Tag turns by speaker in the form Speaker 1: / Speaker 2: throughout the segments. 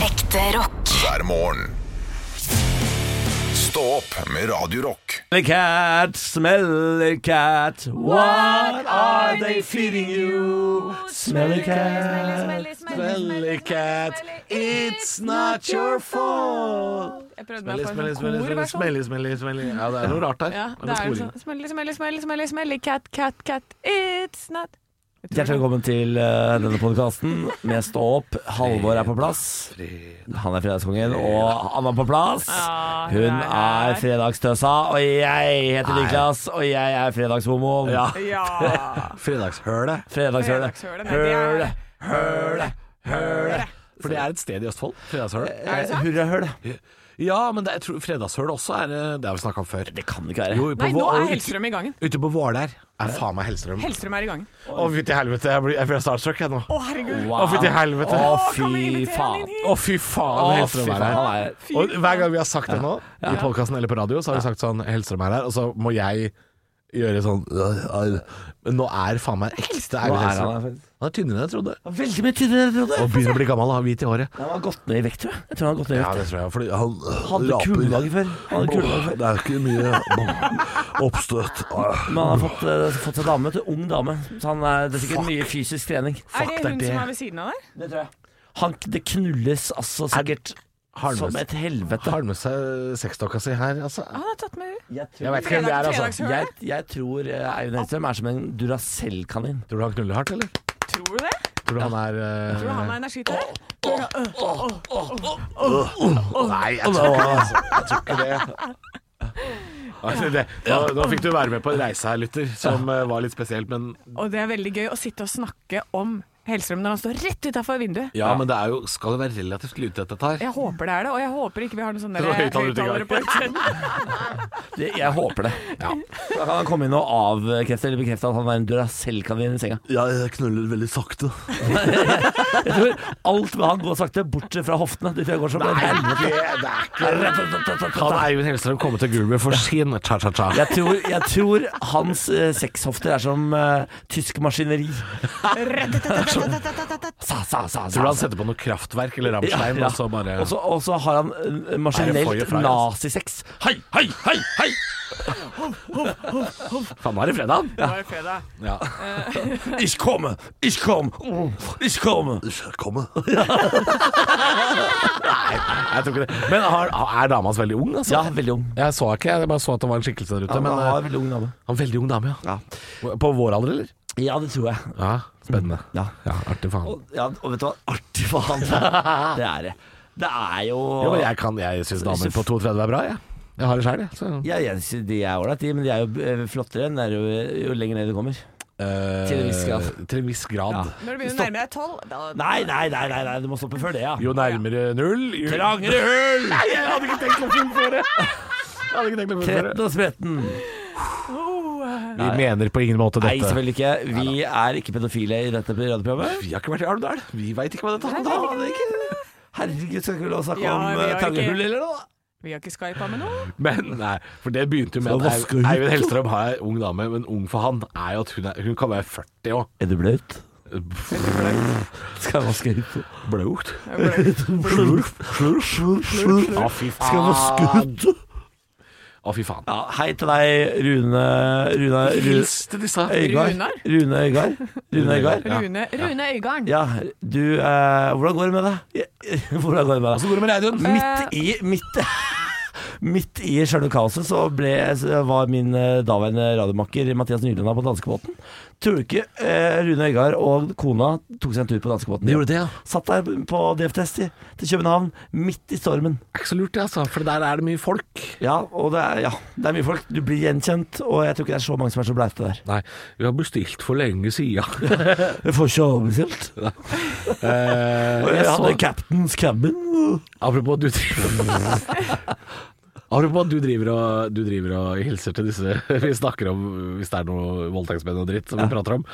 Speaker 1: Ekte rock.
Speaker 2: hver morgen. Stå opp med Radio Rock.
Speaker 3: Smelly cat, smelly cat, what are they feeding you? Smelly cat,
Speaker 4: Smelly, smelly, smelly,
Speaker 3: smelly cat, it's not your fault.
Speaker 4: Jeg prøvde meg
Speaker 3: Smelly,
Speaker 4: på
Speaker 3: smelly,
Speaker 4: en sånn
Speaker 3: smelly, smelly, smelly,
Speaker 4: korversjon.
Speaker 3: smelly, smelly. Ja, det er noe rart her.
Speaker 4: Ja, det er jo sånn Smelly, smelly, smelly, smelly, smelly, cat, cat, cat, it's not
Speaker 3: Hjertelig velkommen til eh, denne podkasten med Stå opp. Halvor er på plass. Han er fredagskongen, og han er på plass.
Speaker 4: Ja, hun
Speaker 3: Hun
Speaker 4: er her.
Speaker 3: er fredagstøsa, og jeg heter Niklas, og jeg er fredagshomoen.
Speaker 4: Ja.
Speaker 5: Fredagshølet.
Speaker 3: Fredagshølet.
Speaker 4: Fredagshølet, nei, det er-
Speaker 3: Høle, høle, høle.
Speaker 5: For det er et sted i Østfold. Fredagshølet.
Speaker 3: Eh, Hurrahøl.
Speaker 5: Ja, men det, jeg tror fredagshølet også er eh, Det har vi snakka om før.
Speaker 3: Det kan det ikke være.
Speaker 5: Jo, på
Speaker 4: Nei, nå
Speaker 5: Vå-
Speaker 4: er Hellstrøm i gangen.
Speaker 5: Ute på Våler er faen meg Hellstrøm.
Speaker 4: Hellstrøm er i gangen.
Speaker 5: Å, fytti helvete. Jeg blir, jeg blir starstruck, jeg nå.
Speaker 4: Å, herregud.
Speaker 3: Wow.
Speaker 5: Å, fytti helvete.
Speaker 3: Å,
Speaker 4: kan vi
Speaker 3: fy
Speaker 4: invitere han
Speaker 3: faen.
Speaker 4: inn hit?
Speaker 5: Å, fy faen,
Speaker 3: Å, fy
Speaker 5: Hellstrøm
Speaker 3: faen.
Speaker 5: er her.
Speaker 3: Han er
Speaker 5: Og hver gang vi har sagt det nå, i podkasten eller på radio, så har vi sagt sånn Hellstrøm er her, og så må jeg gjøre sånn øh, øh. Men nå er faen meg ekte
Speaker 3: Nå
Speaker 5: Eivind
Speaker 3: er han
Speaker 5: Hellstrøm.
Speaker 3: her, faktisk.
Speaker 5: Han er tynnere enn jeg trodde.
Speaker 3: Veldig mye tynnere enn jeg trodde.
Speaker 5: Og begynner å bli gammel og har hvit i håret.
Speaker 3: Han har gått ned i vekt, tror jeg. Jeg tror han har gått ned i
Speaker 5: Ja,
Speaker 3: vekt.
Speaker 5: det tror jeg, fordi han øh,
Speaker 3: Hadde
Speaker 5: laper.
Speaker 3: kuledager før. Han hadde kuledager før.
Speaker 5: Det er ikke mye oppstøt.
Speaker 3: Men han har fått, eh, fått seg dame, vet du. Ung dame. Så han er, det er sikkert mye fysisk trening.
Speaker 4: Er det
Speaker 5: det er
Speaker 4: hun
Speaker 5: det.
Speaker 4: som er ved siden av der?
Speaker 3: Det tror jeg. Han, det knulles altså sikkert som et helvete.
Speaker 5: Har med seg sexdokka si her, altså.
Speaker 4: Han har tatt med henne.
Speaker 3: Jeg
Speaker 5: Jeg
Speaker 3: tror,
Speaker 5: vet ikke hvem det er, altså.
Speaker 4: Fredagshølet?
Speaker 3: jeg, jeg tror eh, Eivind Hellstrøm er som en Duracell-kanin.
Speaker 5: Tror du han knuller hardt, eller?
Speaker 4: Tror du det?
Speaker 5: Tror du han er eh,
Speaker 4: Tror du han er energitøy?
Speaker 5: Nei, jeg tror ikke det. altså. Jeg tror ikke det. Altså, det. Nå, nå fikk du være med på en reise her, lytter, som eh, var litt spesielt, men
Speaker 4: Og det er veldig gøy å sitte og snakke om Hellstrøm når han står rett utafor vinduet.
Speaker 5: Ja, men det er jo Skal det være relativt lydtett, dette her?
Speaker 4: Jeg håper det er det, og jeg håper ikke vi har noen sånne
Speaker 5: Det var høyttaler ute i
Speaker 4: høyttalere på utsiden.
Speaker 3: Det, jeg håper det.
Speaker 5: Ja.
Speaker 3: Da kan han komme inn og avkrefte eller bekrefte at han er en Duracell-kanin i senga.
Speaker 5: jeg knuller veldig sakte.
Speaker 3: Jeg tror alt med han går sakte, bortsett fra hoftene. Det tror jeg går som en helvete.
Speaker 5: Det, det er ikke Kan Eivind Hellstrøm komme til Gulvet for sin cha-cha-cha?
Speaker 3: Jeg tror, jeg tror hans eh, sexhofter er som eh, tysk maskineri. Sa, sa, sa, sa.
Speaker 5: Tror du han setter på noe kraftverk eller Rammstein, og så bare
Speaker 3: og, så, og så har han eh,
Speaker 5: Nei, jeg får jo
Speaker 3: maskinelt
Speaker 5: fra, altså.
Speaker 3: nazisex. Hei, hei, hei, hei!
Speaker 5: Faen, nå er det fredag!
Speaker 4: Det var fredag.
Speaker 5: Ja.
Speaker 3: Ich komme, ich komme, ich komme.
Speaker 5: Komme. Nei, jeg tror ikke det. Men har, er dama hans veldig ung, altså?
Speaker 3: Ja, veldig ung.
Speaker 5: Jeg så ikke, jeg bare så at det var en skikkelse der ute.
Speaker 3: Ja, men
Speaker 5: men
Speaker 3: han
Speaker 5: eh,
Speaker 3: har veldig ung dame.
Speaker 5: han er veldig ung dame, ja. På vår alder, eller?
Speaker 3: Ja, det tror jeg.
Speaker 5: Ja, spennende.
Speaker 3: Ja.
Speaker 5: Ja, Artig faen.
Speaker 3: Og, ja, og vet du hva? Artig faen. Det er det. Det er jo
Speaker 5: Jo, men jeg kan, jeg syns damer på 32 er bra, jeg. Jeg har det sjøl, jeg. Så.
Speaker 3: Ja, jeg synes de er ålreit, de, men de er jo eh, flottere enn det er jo, jo lenger ned du kommer.
Speaker 5: Eh,
Speaker 3: Til en viss grad.
Speaker 5: Til en viss grad.
Speaker 3: Ja.
Speaker 4: Når du begynner å nærme deg tolv, da
Speaker 3: Nei, nei, nei, nei, nei, du må stoppe før det, ja.
Speaker 5: Jo nærmere null, jo
Speaker 3: Trangere hull!
Speaker 5: Nei, jeg hadde ikke tenkt å fullføre! Jeg hadde ikke tenkt å fullføre.
Speaker 3: Tretten og spretten.
Speaker 5: Vi mener på ingen måte
Speaker 3: Nei,
Speaker 5: dette.
Speaker 3: selvfølgelig ikke. Vi er ikke pedofile i dette radioprogrammet.
Speaker 5: Vi har ikke vært i Alvdal. Vi veit ikke hva dette handler om.
Speaker 3: Faen ikke. Herregud, skal ikke vi la oss snakke
Speaker 4: Ja,
Speaker 3: om
Speaker 4: vi
Speaker 3: eh,
Speaker 4: har
Speaker 3: trangehull,
Speaker 4: ikke-
Speaker 3: eller noe?
Speaker 4: Vi har ikke skypa med noen.
Speaker 5: Men nei, for det begynte jo med
Speaker 3: Skal
Speaker 5: at
Speaker 3: vaske ut,
Speaker 5: Eiv- Eivind Hellstrøm har ei ung dame, men ung for han er jo at hun, er, hun kan være 40 òg.
Speaker 3: Er du blaut? Skal jeg vaske ut?
Speaker 5: Blaut.
Speaker 3: Slurf, slurf, slurf, slurf.
Speaker 5: Å, fy faen.
Speaker 3: Skal jeg vaske ut?
Speaker 5: Å, fy faen.
Speaker 3: Ja, hei til deg, Rune Rune, Rune
Speaker 5: Hils til disse.
Speaker 3: Øygard.
Speaker 4: Runar?
Speaker 3: Rune Øygard. Rune Øygard.
Speaker 5: Ja.
Speaker 4: Rune, Rune Øygarden.
Speaker 3: Ja, du eh, Hvordan går det med deg? Hvordan går det med deg?
Speaker 5: Hvordan går det med Reidun?
Speaker 3: Altså, Midt i Midt, midt i sjølve kaoset så, ble, så var min eh, daværende radiomakker Mathias Nyland på danskebåten. Tror du ikke eh, Rune Øygard og kona tok seg en tur på danskebåten?
Speaker 5: Gjorde det, ja.
Speaker 3: Satt der på DFTS til, til København, midt i stormen.
Speaker 5: Er ikke så lurt, det, altså. For der er det mye folk.
Speaker 3: Ja, og det er, ja, det er mye folk. Du blir gjenkjent, og jeg tror ikke det er så mange som er så bleite der.
Speaker 5: Nei, vi har bestilt for lenge siden.
Speaker 3: Jeg får ikke overbestilt.
Speaker 5: Eh,
Speaker 3: Jeg
Speaker 5: jeg
Speaker 3: hadde
Speaker 5: så,
Speaker 3: Captain's Cabin.
Speaker 5: apropos at du driver Apropos at du driver og, du driver og hilser til disse vi snakker om, hvis det er noe voldtektsmenn og dritt som vi prater om.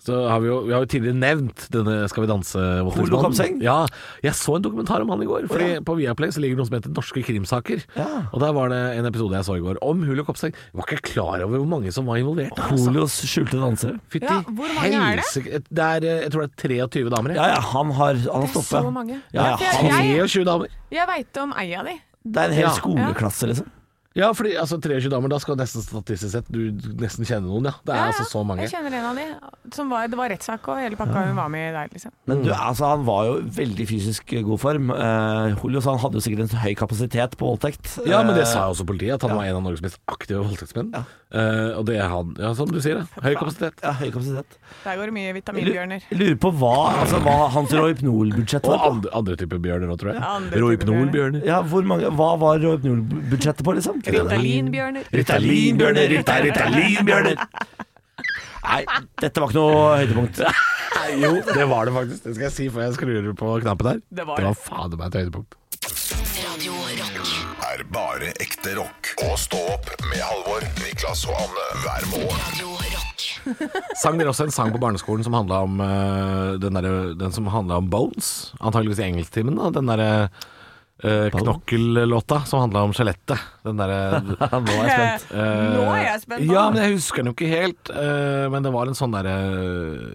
Speaker 5: Så har vi jo vi har jo tidligere nevnt denne Skal vi danse
Speaker 3: Holo Kopseng?
Speaker 5: Ja, jeg så en dokumentar om han i går. Fordi På Viaplay så ligger det noe som heter Norske krimsaker.
Speaker 3: Ja.
Speaker 5: Og der var det en episode jeg så i går om Holo Kopseng. Jeg var ikke klar over hvor mange som var involvert. Altså.
Speaker 3: Holios skjulte dansere.
Speaker 5: Fytti
Speaker 4: Ja, hvor mange er det?
Speaker 5: helsike. Det er, eh, jeg tror det er 23 damer.
Speaker 3: Ja,
Speaker 5: Ja.
Speaker 3: ja, han har, han har
Speaker 4: Det er
Speaker 3: stoppet.
Speaker 4: så mange.
Speaker 3: Ja, ja,
Speaker 4: Ja, for
Speaker 3: han,
Speaker 4: jeg-
Speaker 5: 23 damer.
Speaker 4: Jeg veit om ei av de.
Speaker 3: det er en hel
Speaker 5: Ja.
Speaker 3: skoleklasse, liksom.
Speaker 5: Ja, fordi altså 23 damer, da skal nesten statistisk sett du nesten kjenne noen, ja. Det er
Speaker 4: Ja, ja.
Speaker 5: altså så mange.
Speaker 4: Jeg kjenner en av de. Som var, det var rettssak og hele pakka hun var med i der, liksom.
Speaker 3: Men
Speaker 5: Mm.
Speaker 3: du, altså, han var jo veldig fysisk i god form. Eh, Holios han hadde jo sikkert en høy kapasitet på voldtekt.
Speaker 5: Ja, men det
Speaker 3: Eh,
Speaker 5: sa jo også politiet, at han var en av Norges mest aktive voldtektsmenn. Eh, og det er han, ja, som du sier, ja. Høy kapasitet.
Speaker 3: ja, høy kapasitet.
Speaker 4: Der går det mye vitaminbjørner.
Speaker 3: Jeg Lurer på hva, altså, hva hans Rohypnol-budsjett
Speaker 5: Og
Speaker 3: var. på.
Speaker 5: andre, andre typer bjørner òg, tror jeg.
Speaker 4: Ja, andre typer
Speaker 5: Rohypnol-bjørner.
Speaker 3: Ja, hvor mange, hva var Rohypnol-budsjettet på, liksom?
Speaker 4: Ritalinbjørner.
Speaker 3: Ritalin-bjørner, Rita- Ritalin-bjørner. Nei, dette var ikke noe høydepunkt.
Speaker 5: Nei, Jo, det var det faktisk. Det skal jeg si før jeg skrur på knappen her.
Speaker 4: Det var
Speaker 5: det
Speaker 4: det.
Speaker 5: var fader meg et høydepunkt.
Speaker 1: Radio Rock.
Speaker 2: Er bare ekte rock. Og stå opp med Halvor, Niklas og Anne hver morgen.
Speaker 1: Radio Rock.
Speaker 5: Sang dere også en sang på barneskolen som handla om eh, den, derre- den som handla om bones? Antageligvis i engelsktimen, da. Den derre eh, knokkellåta som handla om skjelettet. Den derre
Speaker 3: Nå er jeg spent.
Speaker 5: Eh,
Speaker 4: Nå er jeg spent på
Speaker 5: Ja,
Speaker 4: den.
Speaker 5: men jeg husker den jo ikke helt. eh, men det var en sånn derre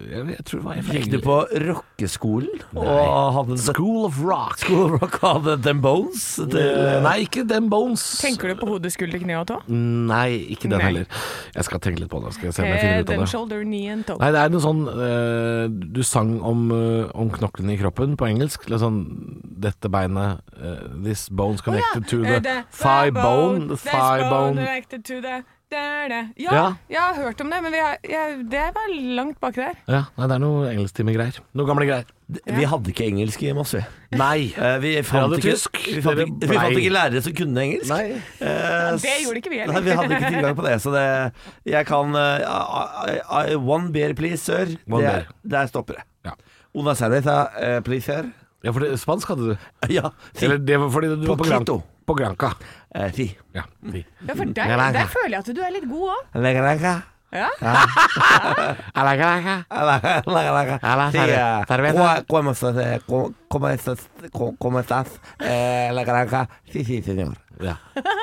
Speaker 5: jeg, vet- jeg tror det var en
Speaker 3: Gikk du på rockeskolen og hadde
Speaker 5: School of Rock.
Speaker 3: School of Rock hadde Den Bones?
Speaker 5: Eh,
Speaker 3: til-
Speaker 5: nei, ikke Den Bones.
Speaker 4: Tenker du på hode, skulder, kne og tå?
Speaker 5: Nei, ikke den
Speaker 4: Nei.
Speaker 5: heller. Jeg skal tenke litt på det. Skal jeg
Speaker 3: Eh,
Speaker 5: se om jeg finner
Speaker 4: Head
Speaker 5: ut av
Speaker 4: and
Speaker 5: det.
Speaker 4: Eh, shoulder, knee and toe.
Speaker 5: Nei, det er noe sånn eh, Du sang om, eh, om knoklene i kroppen på engelsk. Eller sånn Dette beinet eh, This bone's
Speaker 4: Å ja,
Speaker 5: connected to
Speaker 4: eh,
Speaker 5: the, thigh bone. The
Speaker 4: this
Speaker 5: thigh bone.
Speaker 4: connected to the- der, der. Ja,
Speaker 5: Ja.
Speaker 4: jeg har hørt om det, men vi har, jeg, det var langt baki der.
Speaker 5: Ja, nei, det er noe engelsktimegreier. Noe gamle greier.
Speaker 3: Vi hadde ikke engelsk i Moss, vi.
Speaker 5: Nei.
Speaker 3: Eh, Vi fant,
Speaker 5: hadde
Speaker 3: ikke,
Speaker 5: tysk.
Speaker 3: vi fant,
Speaker 5: Dere
Speaker 3: ikke, vi fant
Speaker 5: blei-
Speaker 3: ikke lærere som kunne engelsk.
Speaker 5: Nei.
Speaker 3: Eh,
Speaker 4: Det gjorde ikke vi heller.
Speaker 3: Nei, vi hadde ikke tilgang på det, så det Jeg kan eh, I, I, I, One beer, please, sir.
Speaker 5: One
Speaker 3: det,
Speaker 5: beer.
Speaker 3: Der stopper det.
Speaker 5: Ja.
Speaker 3: Una cerveza, eh, please, sir.
Speaker 5: Ja, for det, spansk hadde du.
Speaker 3: Ja. Si.
Speaker 5: Eller det var fordi du var på, Gran
Speaker 3: Poquito.
Speaker 5: på Granca.
Speaker 3: Eh, si.
Speaker 5: Ja. vi.
Speaker 4: Ja, for der,
Speaker 5: Mm, nei, nei.
Speaker 4: der føler jeg at du er litt god òg.
Speaker 3: Lega, lega.
Speaker 4: Ja.
Speaker 3: Lega, lega, lega.
Speaker 5: Hola,
Speaker 3: Si, eh,
Speaker 5: cerve-
Speaker 3: "Cómo-
Speaker 5: cerveza.
Speaker 3: cómo estás, eh, cómo- cómo estás, cómo- cómo estás, eh, lega, lega?" Si, si, señor.
Speaker 5: Ja.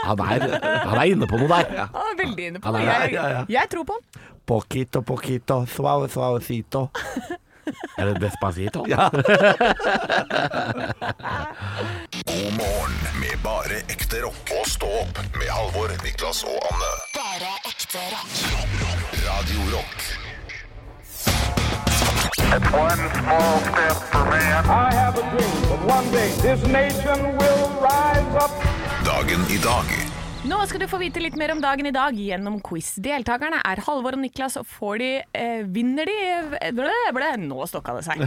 Speaker 5: Han, er, han er inne på noe der.
Speaker 4: Han er veldig inne på
Speaker 5: Ja,
Speaker 4: det.
Speaker 5: nei,
Speaker 4: Jeg,
Speaker 3: ja, ja.
Speaker 4: jeg tror på han.
Speaker 3: Poquito, poquito, suave, suavecito.
Speaker 5: Er det Despacito?
Speaker 3: Ja.
Speaker 2: God morgen med bare ekte rock. Og stå opp med Halvor, Niklas og Anne.
Speaker 1: Bare ekte rock.
Speaker 2: Radio Rock.
Speaker 6: One small step for man.
Speaker 7: I have a dream that one day this nation will rise up.
Speaker 2: Dagen i dag.
Speaker 4: Nå skal du få vite litt mer om dagen i dag gjennom quiz. Deltakerne er Halvor og Niklas, og får de eh, Vinner de eh, ble, ble. Nå stokka det seg.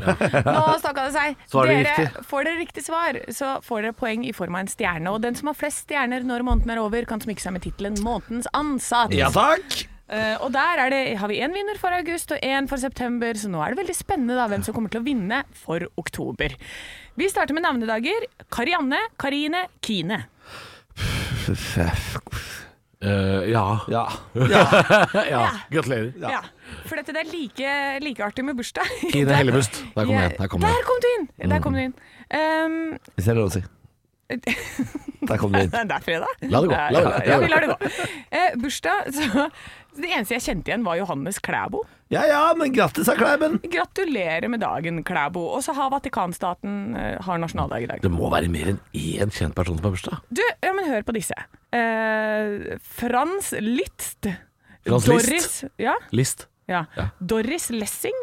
Speaker 4: Nå stokka det seg.
Speaker 5: Svarer de
Speaker 4: dere,
Speaker 5: riktig?
Speaker 4: Får dere riktig svar, så får dere poeng i form av en stjerne. Og den som har flest stjerner når måneden er over, kan smykke seg med tittelen 'Månedens ansatt'.
Speaker 3: takk!
Speaker 4: Eh, og der er det, har vi én vinner for august og én for september, så nå er det veldig spennende da, hvem som kommer til å vinne for oktober. Vi starter med navnedager. Karianne, Karine, Kine.
Speaker 5: Eh, ja.
Speaker 3: Ja.
Speaker 5: ja. Gratulerer.
Speaker 4: Ja. For dette det er like, like artig med bursdag.
Speaker 5: Kine Hellebust. Der kom jeg. Der kom jeg. Mm.
Speaker 4: Der kom du inn! Der kom du inn. Um,
Speaker 3: Hvis det er lov å si. Der kom du inn.
Speaker 4: det er fredag.
Speaker 5: La det gå, la det gå, la det
Speaker 4: Ja,
Speaker 5: gå.
Speaker 4: vi lar det gå. Eh, bursdag, så Det eneste jeg kjente igjen, var Johannes Klæbo.
Speaker 3: Ja ja, men grattis, da, Kleiben.
Speaker 4: Gratulerer med dagen, Klæbo. Og så har Vatikanstaten eh, har nasjonaldag i dag.
Speaker 5: Det må være mer enn én kjent person som har bursdag.
Speaker 4: Du, ja, men hør på disse. Eh, Frans Litst.
Speaker 5: Frans
Speaker 4: Doris,
Speaker 5: Liszt?
Speaker 4: Ja,
Speaker 5: List.
Speaker 4: ja. Doris Lessing.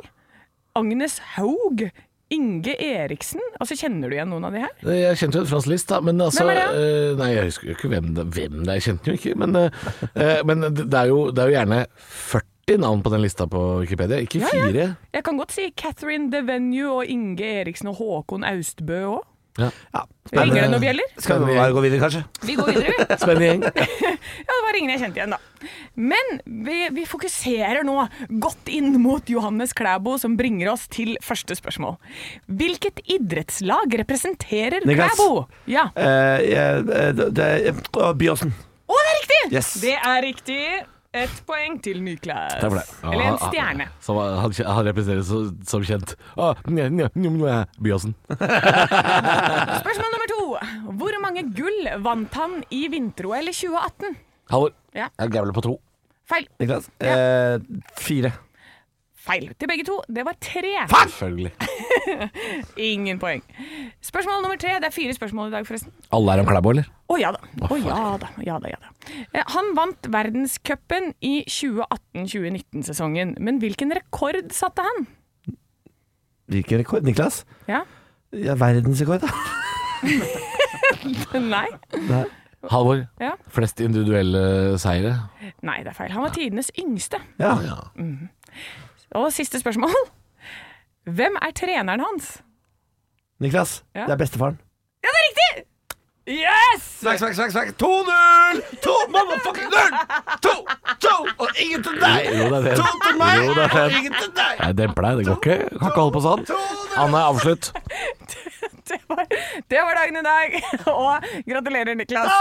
Speaker 4: Agnes Haug. Inge Eriksen. Altså, Kjenner du igjen noen av de her?
Speaker 5: Eh, Jeg kjente jo Frans List, da, men altså
Speaker 4: Hvem er det?
Speaker 5: eh, Nei, jeg husker jo ikke hvem det, hvem det er. Jeg kjente den jo ikke, men, eh, eh, men det, det, er jo, det er jo gjerne 40 navn på den lista på Wikipedia, ikke
Speaker 4: Ja, ja.
Speaker 5: fire.
Speaker 4: Jeg kan godt si Catherine Devenue og Inge Eriksen og Håkon Austbø òg.
Speaker 5: Ja.
Speaker 4: Ringer det noen bjeller?
Speaker 3: Skal vi bare gå videre, kanskje?
Speaker 4: Vi går videre, vi.
Speaker 5: Spennende gjeng.
Speaker 4: Ja, det var var ingen jeg kjente igjen, da. Men vi, vi fokuserer nå godt inn mot Johannes Klæbo, som bringer oss til første spørsmål. Hvilket idrettslag representerer
Speaker 3: Niklas.
Speaker 4: Klæbo? Ja.
Speaker 3: Eh, jeg- eh, det- det- å, Byåsen.
Speaker 4: Å, det er riktig!
Speaker 3: Yes.
Speaker 4: Det er riktig. Ett poeng til Niklas.
Speaker 3: Takk for det.
Speaker 4: Eller en stjerne.
Speaker 5: Ah, Som, han, han representerer så, som kjent ah, nja, nja, nja, nja, Byåsen.
Speaker 4: Spørsmål nummer to. Hvor mange gull vant han i vinter-OL i 2018?
Speaker 5: Halvor,
Speaker 4: Ja.
Speaker 5: jeg gambler på to.
Speaker 4: Feil.
Speaker 3: Niklas. Eh, fire.
Speaker 4: Feil til begge to. Det var tre.
Speaker 5: Selvfølgelig.
Speaker 4: Ingen poeng. Spørsmål nummer tre. Det er fire spørsmål i dag, forresten.
Speaker 5: Alle er om Klæbo, eller?
Speaker 4: Å ja da. Å ja da. Ja da, ja da. Eh, Han vant verdenscupen i 2018-2019-sesongen, men hvilken rekord satte han?
Speaker 3: Hvilken rekord? Niklas?
Speaker 4: Ja?
Speaker 3: Ja, verdensrekord, da.
Speaker 4: Nei.
Speaker 5: Halvor,
Speaker 4: Ja.
Speaker 5: flest individuelle seire.
Speaker 4: Nei, det er feil. Han var tidenes yngste.
Speaker 3: Ja.
Speaker 4: Og siste spørsmål. Hvem er treneren hans?
Speaker 3: Niklas,
Speaker 4: Ja.
Speaker 3: det er bestefaren.
Speaker 4: Yes!
Speaker 3: Svekk, svekk, svekk, svekk. 2-0! 2 motherfucking 0! 2, 2, og ingen til deg!
Speaker 5: Jo, det er det.
Speaker 3: 2 til meg,
Speaker 5: Jo, det er det.
Speaker 3: og ingen til deg!
Speaker 5: Jeg demper deg, det går ikke. Kan ikke holde på sånn. Anne, avslutt.
Speaker 4: Det var, det var dagen i dag. Og gratulerer, Niklas.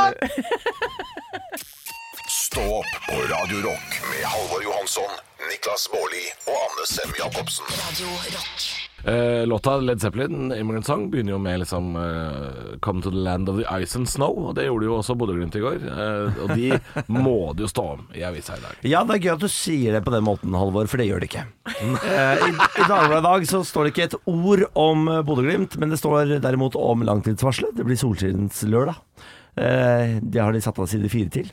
Speaker 2: Stå opp på Radio Rock med Halvor Johansson, Niklas Baarli og Anne Sem Jacobsen.
Speaker 1: Radio Rock.
Speaker 5: Eh, låta Led Zeppelin, Immigrant Song, begynner jo med liksom eh, Come to the land of the ice and snow. Og det gjorde jo også Bodø-Glimt i går. Eh, og de må det jo stå om i avisa i dag.
Speaker 3: Ja, det er gøy at du sier det på den måten, Halvor, for det gjør det ikke. Eh, I i Dagbladet i dag så står det ikke et ord om eh, Bodø-Glimt, men det står derimot om langtidsvarselet. Det blir solskinnens lørdag. Eh, Det har de satt av side fire til.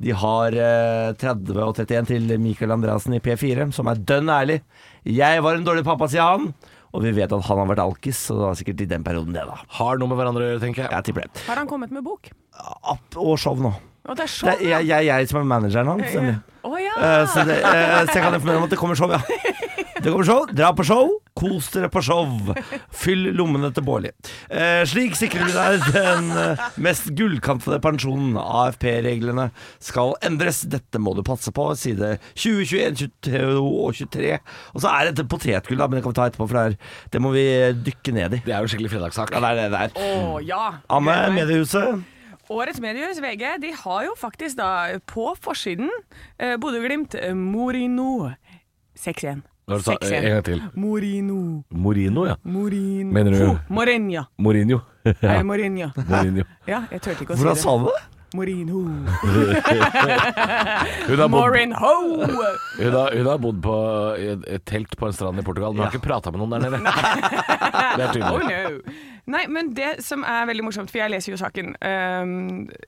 Speaker 3: De har eh, 30 og 31 til Mikael Andreassen i P4, som er dønn ærlig. Jeg var en dårlig pappa, sier han. Og vi vet at han har vært alkis, så det var sikkert i den perioden, det, da.
Speaker 5: Har noe med hverandre å gjøre, tenker jeg.
Speaker 3: Jeg tipper det.
Speaker 4: Har han kommet med bok?
Speaker 3: Opp og show nå.
Speaker 4: Og det er
Speaker 3: Det
Speaker 4: sånn,
Speaker 3: er jeg, jeg, jeg som er manageren hans. nemlig.
Speaker 4: Å ja.
Speaker 3: Eh, så, det, eh, så jeg kan informere om at det kommer show, ja. Det kommer show. Dra på show. Kos dere på show. Fyll lommene til Bårli. Eh, slik sikrer vi deg den eh, mest gullkantede pensjonen. AFP-reglene skal endres. Dette må du passe på. Side 20, 21, 22 og 23. Og så er det et potetgull, da, men det kan vi ta etterpå, for det, er, det må vi eh, dykke ned i.
Speaker 5: Det er jo en skikkelig fredagssak.
Speaker 3: Ja, det er det det er.
Speaker 4: Å ja.
Speaker 3: Anne,
Speaker 4: Gleder meg.
Speaker 3: Mediehuset.
Speaker 4: Årets mediehus, VG, de har jo faktisk da på forsiden eh, Bodø-Glimt eh, Morino 6-1.
Speaker 5: Hva sa du?
Speaker 4: 6-1.
Speaker 5: En gang til.
Speaker 4: Morino.
Speaker 5: Morino, ja.
Speaker 4: Morino.
Speaker 5: Mener du-
Speaker 4: Ho, Morinha.
Speaker 5: Mourinho.
Speaker 4: Ja.
Speaker 5: ja.
Speaker 4: Morinha.
Speaker 5: Mourinho.
Speaker 4: Ja, jeg turte ikke å
Speaker 3: Hvordan
Speaker 4: si
Speaker 3: sa
Speaker 4: det.
Speaker 3: du det?
Speaker 4: Morino.
Speaker 5: Hun har bodd,
Speaker 4: Morinho!
Speaker 5: hun har, hun har bodd på i et et telt på en strand i Portugal, men har ikke prata med noen der nede. Det er
Speaker 4: Oh
Speaker 5: tydelig.
Speaker 4: no. Nei, men det som er veldig morsomt, for jeg leser jo saken ehm,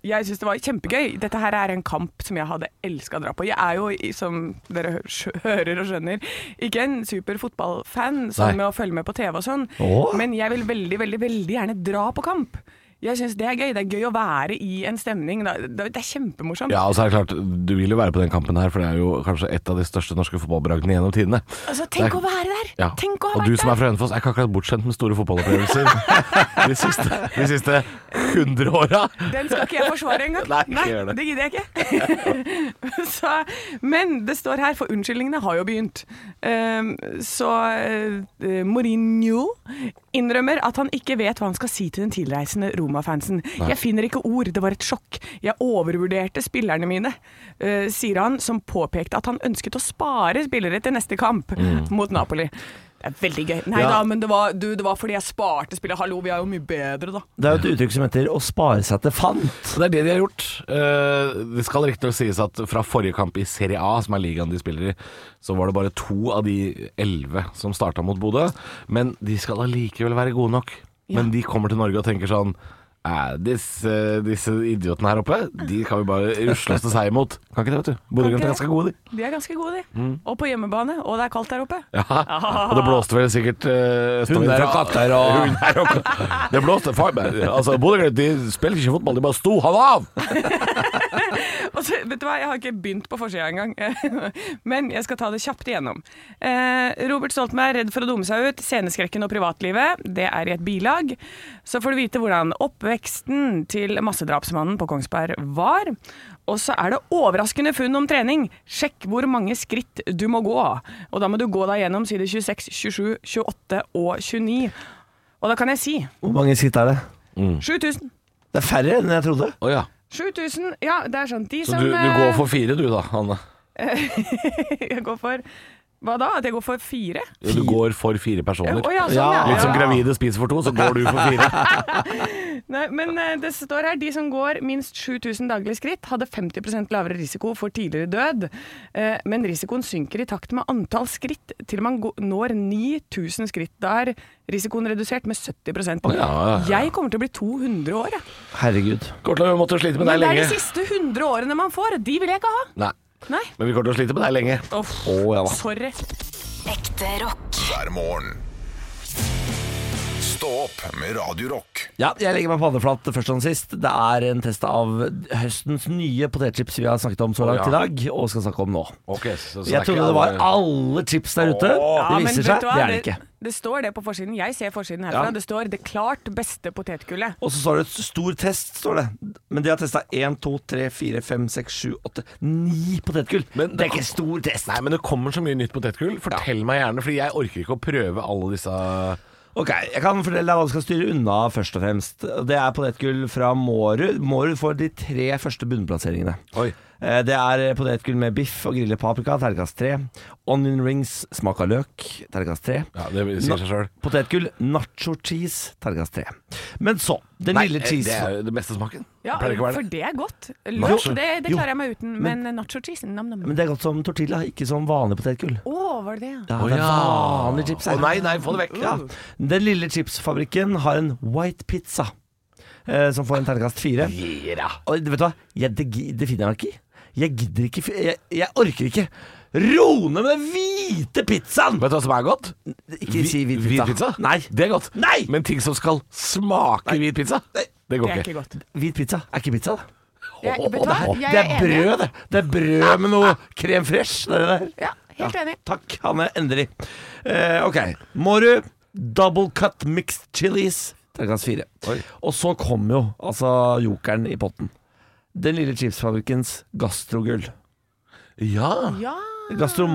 Speaker 4: Jeg syns det var kjempegøy. Dette her er en kamp som jeg hadde elska å dra på. Jeg er jo, i- som dere hø- skjø- hører og skjønner, ikke en super fotballfan
Speaker 5: Nei.
Speaker 4: sånn med å følge med på TV og sånn,
Speaker 3: Åh.
Speaker 4: men jeg vil veldig, veldig, veldig gjerne dra på kamp. Jeg syns det er gøy. Det er gøy å være i en stemning. Det er, det er kjempemorsomt.
Speaker 5: Ja, og så er det klart, Du vil jo være på den kampen her, for det er jo kanskje et av de største norske fotballbragdene gjennom tidene.
Speaker 4: Altså,
Speaker 5: Det
Speaker 4: tenk
Speaker 5: er-
Speaker 4: å være der!
Speaker 5: Ja.
Speaker 4: Tenk å ha
Speaker 5: og
Speaker 4: vært
Speaker 5: du som er
Speaker 4: der!
Speaker 5: fra Hønefoss, er ikke akkurat bortskjemt med store fotballopplevelser de siste, de siste 100 åra.
Speaker 4: Den skal ikke jeg forsvare engang.
Speaker 5: Nei, ikke gjør det.
Speaker 4: det gidder jeg ikke. så, men det står her, for unnskyldningene har jo begynt. Ehm, så eh, Mourinho innrømmer at han ikke vet hva han skal si til den tilreisende Roma-fansen. Jeg finner ikke ord, det var et sjokk. Jeg overvurderte spillerne mine, eh, sier han, som påpekte at han ønsket å spare spillere til neste kamp
Speaker 5: Mm.
Speaker 4: mot Napoli. Det er veldig gøy. Nei da, men det var, du, det var fordi jeg sparte spillet. Hallo, vi er jo mye bedre, da.
Speaker 3: Det er jo et uttrykk som heter 'å spare seg til fant'.
Speaker 5: Så det er det de har gjort. Eh, det skal riktignok sies at fra forrige kamp i Serie A, som er ligaen de spiller i, så var det bare to av de elleve som starta mot Bodø. Men de skal allikevel være gode nok. Men de kommer til Norge og tenker sånn eh, disse, disse idiotene her oppe, de kan vi bare rusle oss til seier mot. Kan ikke det, vet du. Bodø-Glimt er ganske gode, de.
Speaker 4: De er ganske gode, de. Og på hjemmebane. Og det er kaldt der oppe.
Speaker 5: Ja,
Speaker 4: Ah.
Speaker 5: og det blåste vel sikkert uh,
Speaker 3: Hunder og katter og-
Speaker 5: Hunder og katter. Det blåste faen meg Altså, Bodø-Glimt de spilte ikke fotball, de bare sto han av!
Speaker 4: Og så, vet du hva, jeg har ikke begynt på forsida engang, men jeg skal ta det kjapt igjennom. Eh, Robert Stoltenberg redd for å dumme seg ut. Sceneskrekken og privatlivet, det er i et bilag. Så får du vite hvordan oppveksten til massedrapsmannen på Kongsberg var. Og så er det overraskende funn om trening. Sjekk hvor mange skritt du må gå. Og da må du gå deg gjennom side 26, 27, 28 og 29. Og da kan jeg si
Speaker 3: Hvor mange skritt er det?
Speaker 4: 7000.
Speaker 3: Det er færre enn jeg trodde.
Speaker 5: Å ja.
Speaker 4: 7000, ja, det er sant. De
Speaker 5: Så
Speaker 4: som
Speaker 5: du, du
Speaker 4: eh,
Speaker 5: går for fire, du da, Anne?
Speaker 4: Jeg går for Hva da? At jeg går for fire?
Speaker 5: Ja, Du går for fire personer.
Speaker 4: Å ja, sånn, ja.
Speaker 5: Litt som
Speaker 4: ja.
Speaker 5: gravide spiser for to, så går du for fire.
Speaker 4: Nei, men eh, det står her de som går minst 7000 daglige skritt, hadde 50 lavere risiko for tidligere død. Eh, men risikoen synker i takt med antall skritt til man gå- når 9000 skritt. Da er risikoen redusert med 70
Speaker 5: ja, ja, ja.
Speaker 4: Jeg kommer til å bli 200 år, jeg.
Speaker 3: Herregud.
Speaker 5: Kommer til å måtte slite med
Speaker 4: Men
Speaker 5: deg
Speaker 4: det er de
Speaker 5: lenge.
Speaker 4: siste 100 årene man får. De vil jeg ikke ha.
Speaker 5: Nei.
Speaker 4: Nei.
Speaker 5: Men vi kommer til å slite med deg lenge.
Speaker 4: Uff.
Speaker 3: Å, ja da.
Speaker 4: Sorry.
Speaker 1: Ekte rock.
Speaker 2: hver morgen. Stå opp med Radio Rock.
Speaker 3: Ja, jeg legger meg panneflat først og sist. Det er en test av høstens nye potetchips vi har snakket om så langt
Speaker 5: ja.
Speaker 3: i dag, og skal snakke om nå.
Speaker 5: Ok, så, så
Speaker 3: Jeg
Speaker 5: det er ikke
Speaker 3: trodde det var
Speaker 5: alle-
Speaker 3: alle chips der ute.
Speaker 4: Ja,
Speaker 3: Det
Speaker 4: men
Speaker 3: viser
Speaker 4: vet
Speaker 3: seg,
Speaker 4: du
Speaker 3: det
Speaker 4: hva?
Speaker 3: er det ikke.
Speaker 4: Det står det på forsiden. Jeg ser forsiden herfra.
Speaker 5: Ja.
Speaker 4: Det står 'det klart beste potetgullet'.
Speaker 3: Og så står det stor test, står det. Men de har testa 1, 2, 3, 4, 5, 6, 7, 8, 9 potetgull.
Speaker 5: Men
Speaker 3: det,
Speaker 5: det
Speaker 3: er ikke stor test.
Speaker 5: Nei, men det kommer så mye nytt potetgull. Fortell meg gjerne, Fordi jeg orker ikke å prøve alle disse
Speaker 3: Ok, jeg kan fortelle deg hva du skal styre unna først og fremst. Det er potetgull fra Mårud. Mårud får de tre første bunnplasseringene.
Speaker 5: Oi.
Speaker 3: Eh, Det er potetgull med biff og grillet paprika, terningkast tre. Onion rings, smak av løk, terningkast tre.
Speaker 5: Ja, det sier seg sjøl.
Speaker 3: Potetgull, nacho cheese, terningkast tre. Men så, den lille cheese...
Speaker 5: eh, det er jo det beste smaken.
Speaker 4: Ja,
Speaker 5: Pleier det ikke å
Speaker 4: for
Speaker 5: være det.
Speaker 4: det er godt. Løk,
Speaker 5: Nacho.
Speaker 4: det, det
Speaker 3: Jo.
Speaker 4: klarer jeg meg uten. Men, nacho cheese, nam-nam. Å,
Speaker 3: Men det er godt som tortilla, ikke som vanlig potetgull.
Speaker 4: var det det? ja?
Speaker 3: Ja,
Speaker 5: Å
Speaker 3: det er
Speaker 5: ja.
Speaker 3: vanlig chips her.
Speaker 5: Å nei, nei, få det vekk.
Speaker 3: Ja. Den lille chipsfabrikken har en white pizza, eh, som får en terningkast fire.
Speaker 5: Ja.
Speaker 3: Og vet du hva? Jeg, det, gi- det finner jeg meg ikke i. Jeg gidder ikke, f- jeg, jeg orker ikke. Rone med den hvite pizzaen!
Speaker 5: Vet du hva som er godt?
Speaker 3: Ikke si hvit pizza.
Speaker 5: Hvit pizza?
Speaker 3: Nei.
Speaker 5: Det er godt.
Speaker 3: Nei!
Speaker 5: Men ting som skal smake hvit pizza, det
Speaker 4: Det
Speaker 5: går
Speaker 4: er
Speaker 5: ikke.
Speaker 4: ikke godt.
Speaker 3: Hvit pizza er ikke pizza, det.
Speaker 4: Jeg,
Speaker 3: Å,
Speaker 4: vet du
Speaker 3: det,
Speaker 4: hva?
Speaker 3: er,
Speaker 4: Jeg
Speaker 3: det
Speaker 4: er
Speaker 3: er
Speaker 4: enig.
Speaker 3: brød, det. Det er brød med noe krem fresh. Det er det der.
Speaker 4: Ja, helt enig.
Speaker 3: Takk, Hanne. Endelig. Eh, ok. Mårud, double cut mixed chilies. Terningkast fire.
Speaker 5: Oi.
Speaker 3: Og så kom jo altså jokeren i potten. Den lille chipsfabrikkens gastrogull.
Speaker 5: Ja.
Speaker 4: Ja.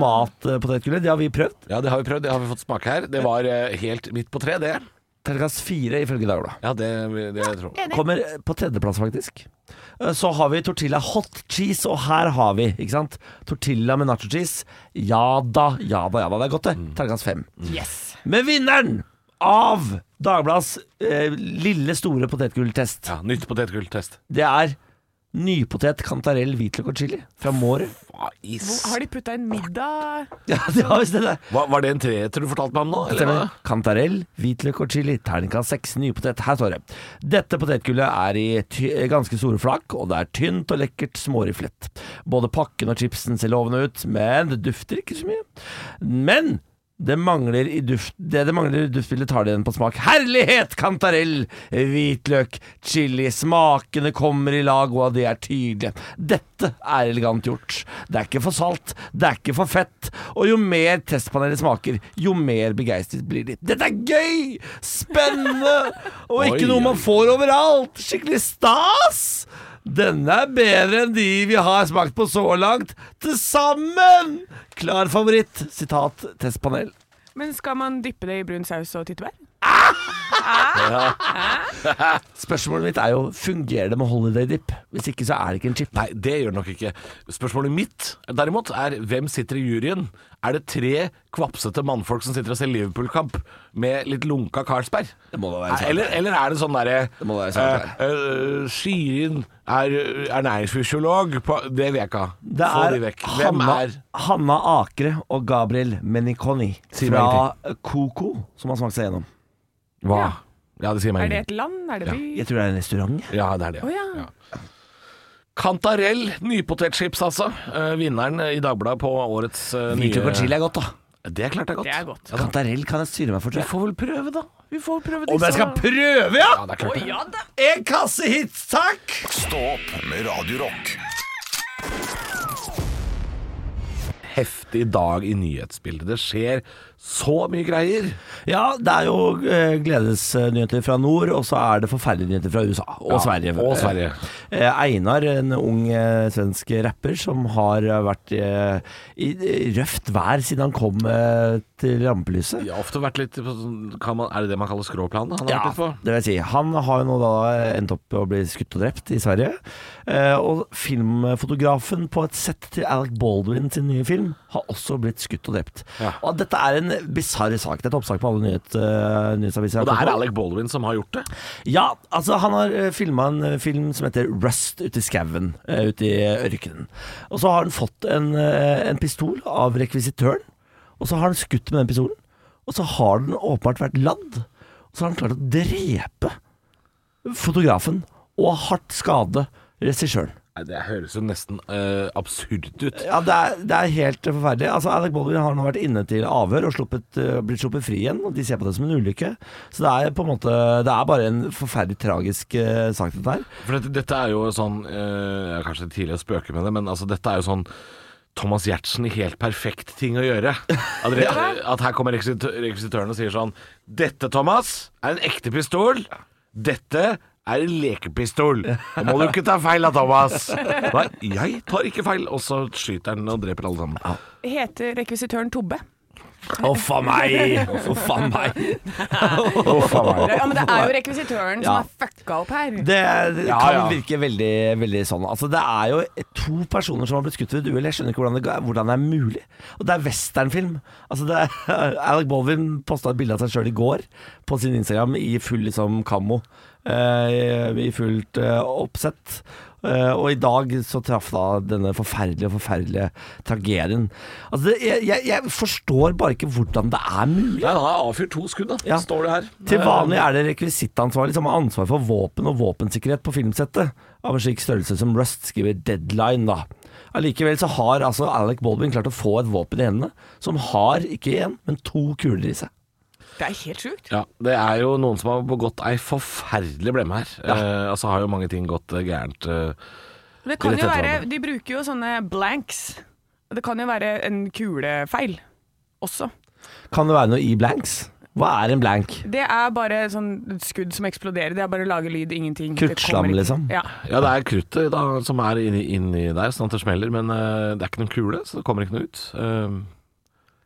Speaker 3: Gastromatpotetgullet, det har vi prøvd.
Speaker 5: ja, det har vi prøvd. Det har vi fått smake her. Det var eh, helt midt på tre, det.
Speaker 3: Terningkast fire ifølge Dagbladet.
Speaker 5: Ja, det, det tror jeg.
Speaker 3: Kommer eh, på tredjeplass, faktisk. Eh, Så har vi tortilla hot cheese, og her har vi, ikke sant. Tortilla med nacho cheese. Ja da, ja da, ja da. Det er godt, det. Terningkast fem.
Speaker 4: Yes.
Speaker 3: Men vinneren av Dagbladets eh, lille, store potetgulltest,
Speaker 5: Ja, nytt potetgulltest.
Speaker 3: det er nypotet, kantarell, hvitløk og chili fra Mårud.
Speaker 5: Hva is?
Speaker 4: Har de putta en middag
Speaker 3: Ja, det var visst det der.
Speaker 5: Hva, var det en treetter du fortalte meg om nå? Eller?
Speaker 3: Stemmer.
Speaker 5: hva?
Speaker 3: Kantarell, hvitløk og chili, terningkast seks, nypotet. Her står det. Dette potetgullet er i ty ganske store flak, og det er tynt og lekkert småriflet. Både pakken og chipsen ser lovende ut, men det dufter ikke så mye. Men det mangler i duft Det det mangler i duftbildet tar det igjen på smak. Herlighet! Kantarell, hvitløk, chili. Smakene kommer i lag, og de er tydelige. Dette er elegant gjort. Det er ikke for salt, det er ikke for fett. Og jo mer testpanelet smaker, jo mer begeistret blir de. Dette er gøy! Spennende! Og ikke
Speaker 5: Oi,
Speaker 3: noe man
Speaker 5: oi.
Speaker 3: får overalt. Skikkelig stas! Denne er bedre enn de vi har smakt på så langt. Til sammen! Klar favoritt. Sitat testpanel.
Speaker 4: Men skal man dyppe det i brun saus og tyttebær?
Speaker 3: Spørsmålet mitt er jo fungerer det med holiday dip. Hvis ikke så er det ikke en chip.
Speaker 5: Nei, det gjør det nok ikke. Spørsmålet mitt derimot er hvem sitter i juryen? Er det tre kvapsete mannfolk som sitter og ser Liverpool-kamp med litt lunka Carlsberg?
Speaker 3: Det må da være sant.
Speaker 5: eller, eller er det sånn derre
Speaker 3: må være sant,
Speaker 5: eh, eh, Shirin er eh, ernæringsfysiolog på Det vet jeg ikke.
Speaker 3: Det
Speaker 5: Få
Speaker 3: er,
Speaker 5: de vekk. Hvem
Speaker 3: Hanna,
Speaker 5: er
Speaker 3: Hanna Akre og Gabriel Meniconi
Speaker 5: meg
Speaker 3: fra Coco som har smakt seg gjennom.
Speaker 5: Hva? Ja, det sier
Speaker 4: Er
Speaker 5: meg
Speaker 4: det
Speaker 5: ingenting.
Speaker 4: et land? Er det by?
Speaker 3: Jeg tror det er en restaurant.
Speaker 5: Ja, det er det.
Speaker 4: Å ja.
Speaker 5: Kantarell, nypotetchips altså. Eh, vinneren i Dagbladet på årets eh, nye
Speaker 3: Hvitløk og chili er godt, da.
Speaker 5: Det er klart det er godt.
Speaker 4: Det er godt.
Speaker 3: Kantarell kan jeg styre meg for, tror
Speaker 5: Vi
Speaker 3: jeg.
Speaker 5: får vel prøve, da. Vi får prøve
Speaker 3: Om jeg skal prøve, ja!
Speaker 5: Ja, det er klart det.
Speaker 3: En kasse hits, takk!
Speaker 2: Stå opp med Radio Rock.
Speaker 5: heftig dag i nyhetsbildet. Det skjer så mye greier.
Speaker 3: Ja, det er jo eh, gledesnyheter fra nord, og så er det forferdelige nyheter fra USA og
Speaker 5: Ja,
Speaker 3: Sverige.
Speaker 5: og Sverige.
Speaker 3: Eh, Einar, en ung eh, svensk rapper som har eh, vært eh, i i røft vær siden han kom eh, til rampelyset.
Speaker 5: De har ofte vært litt på sånn kan man, Er det det man kaller skråplan? da, Han har vært litt på?
Speaker 3: det vil si. Han har jo nå da eh, endt opp med å bli skutt og drept i Sverige. Eh, og filmfotografen på et sett til Alec Baldwin sin nye film har også blitt skutt og drept.
Speaker 5: Ja.
Speaker 3: Og dette er en bisarr sak. Det er et oppsak på alle nyhet, eh, nyhetsaviser.
Speaker 5: Og det er Alec Baldwin som har gjort det.
Speaker 3: Ja, altså han har filma en eh, film som heter Rust ute i skauen, eh, ute i ørkenen. Og så har han fått en, eh, en pistol av rekvisitøren, og så har han skutt med den pistolen. Og så har den åpenbart vært ladd, og så har han klart å drepe fotografen og hardt skade regissøren.
Speaker 5: Nei, Det høres jo nesten eh, absurd ut.
Speaker 3: Ja, det er, det er helt forferdelig. Altså, Alec Baldwin har nå vært inne til avhør og sluppet, eh, blitt sluppet fri igjen. og De ser på det som en ulykke. Så det er på en måte Det er bare en forferdelig tragisk eh, sak, dette her.
Speaker 5: For dette, dette er jo sånn eh, Jeg har kanskje tidlig å spøke med det, men altså, dette er jo sånn Thomas Giertsen i helt perfekt ting å gjøre. At, re- at her kommer rekvisitø- rekvisitøren og sier sånn Dette, Thomas, er en ekte pistol. Dette er en lekepistol. Nå må du ikke ta feil av Thomas. Nei, jeg tar ikke feil. Og så skyter han og dreper alle sammen.
Speaker 4: Heter rekvisitøren Tobbe?
Speaker 3: Huff a meg! Huff a meg!
Speaker 4: Ja, men det er jo rekvisitøren
Speaker 3: Ja.
Speaker 4: som har fucka opp her.
Speaker 3: Det, det
Speaker 5: Ja,
Speaker 3: kan
Speaker 5: ja.
Speaker 3: virke veldig, veldig sånn. Altså, det er jo to personer som har blitt skutt ved et uhell. Jeg skjønner ikke hvordan det, ga- hvordan det er mulig. Og det er westernfilm. Altså, det er, Alec Baldwin posta et bilde av seg sjøl i går på sin Instagram i full liksom, kammo. eh, I fullt eh, oppsett. Eh, og i dag så traff da denne forferdelige, forferdelige tragedien. Altså, det, jeg, jeg, jeg forstår bare ikke hvordan det er mulig.
Speaker 5: Nei, han har avfyrt to skudd, da.
Speaker 3: Ja.
Speaker 5: Står det her.
Speaker 3: Til vanlig er det rekvisittansvarlig som har ansvar for våpen og våpensikkerhet på filmsettet, av en slik størrelse som Rust skriver Deadline, da. Allikevel så har altså Alec Baldwin klart å få et våpen i hendene som har ikke én, men to kuler i seg.
Speaker 4: Det er helt sjukt.
Speaker 5: Ja, det er jo noen som har begått ei forferdelig blemme her. Eh, altså har jo mange ting gått eh, gærent. eh.
Speaker 4: Men det kan
Speaker 5: Litt
Speaker 4: jo
Speaker 5: etter
Speaker 4: være,
Speaker 5: hverandre.
Speaker 4: De bruker jo sånne blanks. Det kan jo være en kulefeil også.
Speaker 3: Kan det være noe i blanks? Hva er en blank?
Speaker 4: Det er bare sånn skudd som eksploderer. Det er bare å lage lyd, ingenting. Det
Speaker 3: Kruttslam,
Speaker 4: kommer ikke-
Speaker 3: liksom.
Speaker 4: Ja.
Speaker 5: Ja, det er kruttet da, som er inni, inni der, sånn at det smeller. Men eh, det er ikke noen kule, så det kommer ikke noe ut. Eh,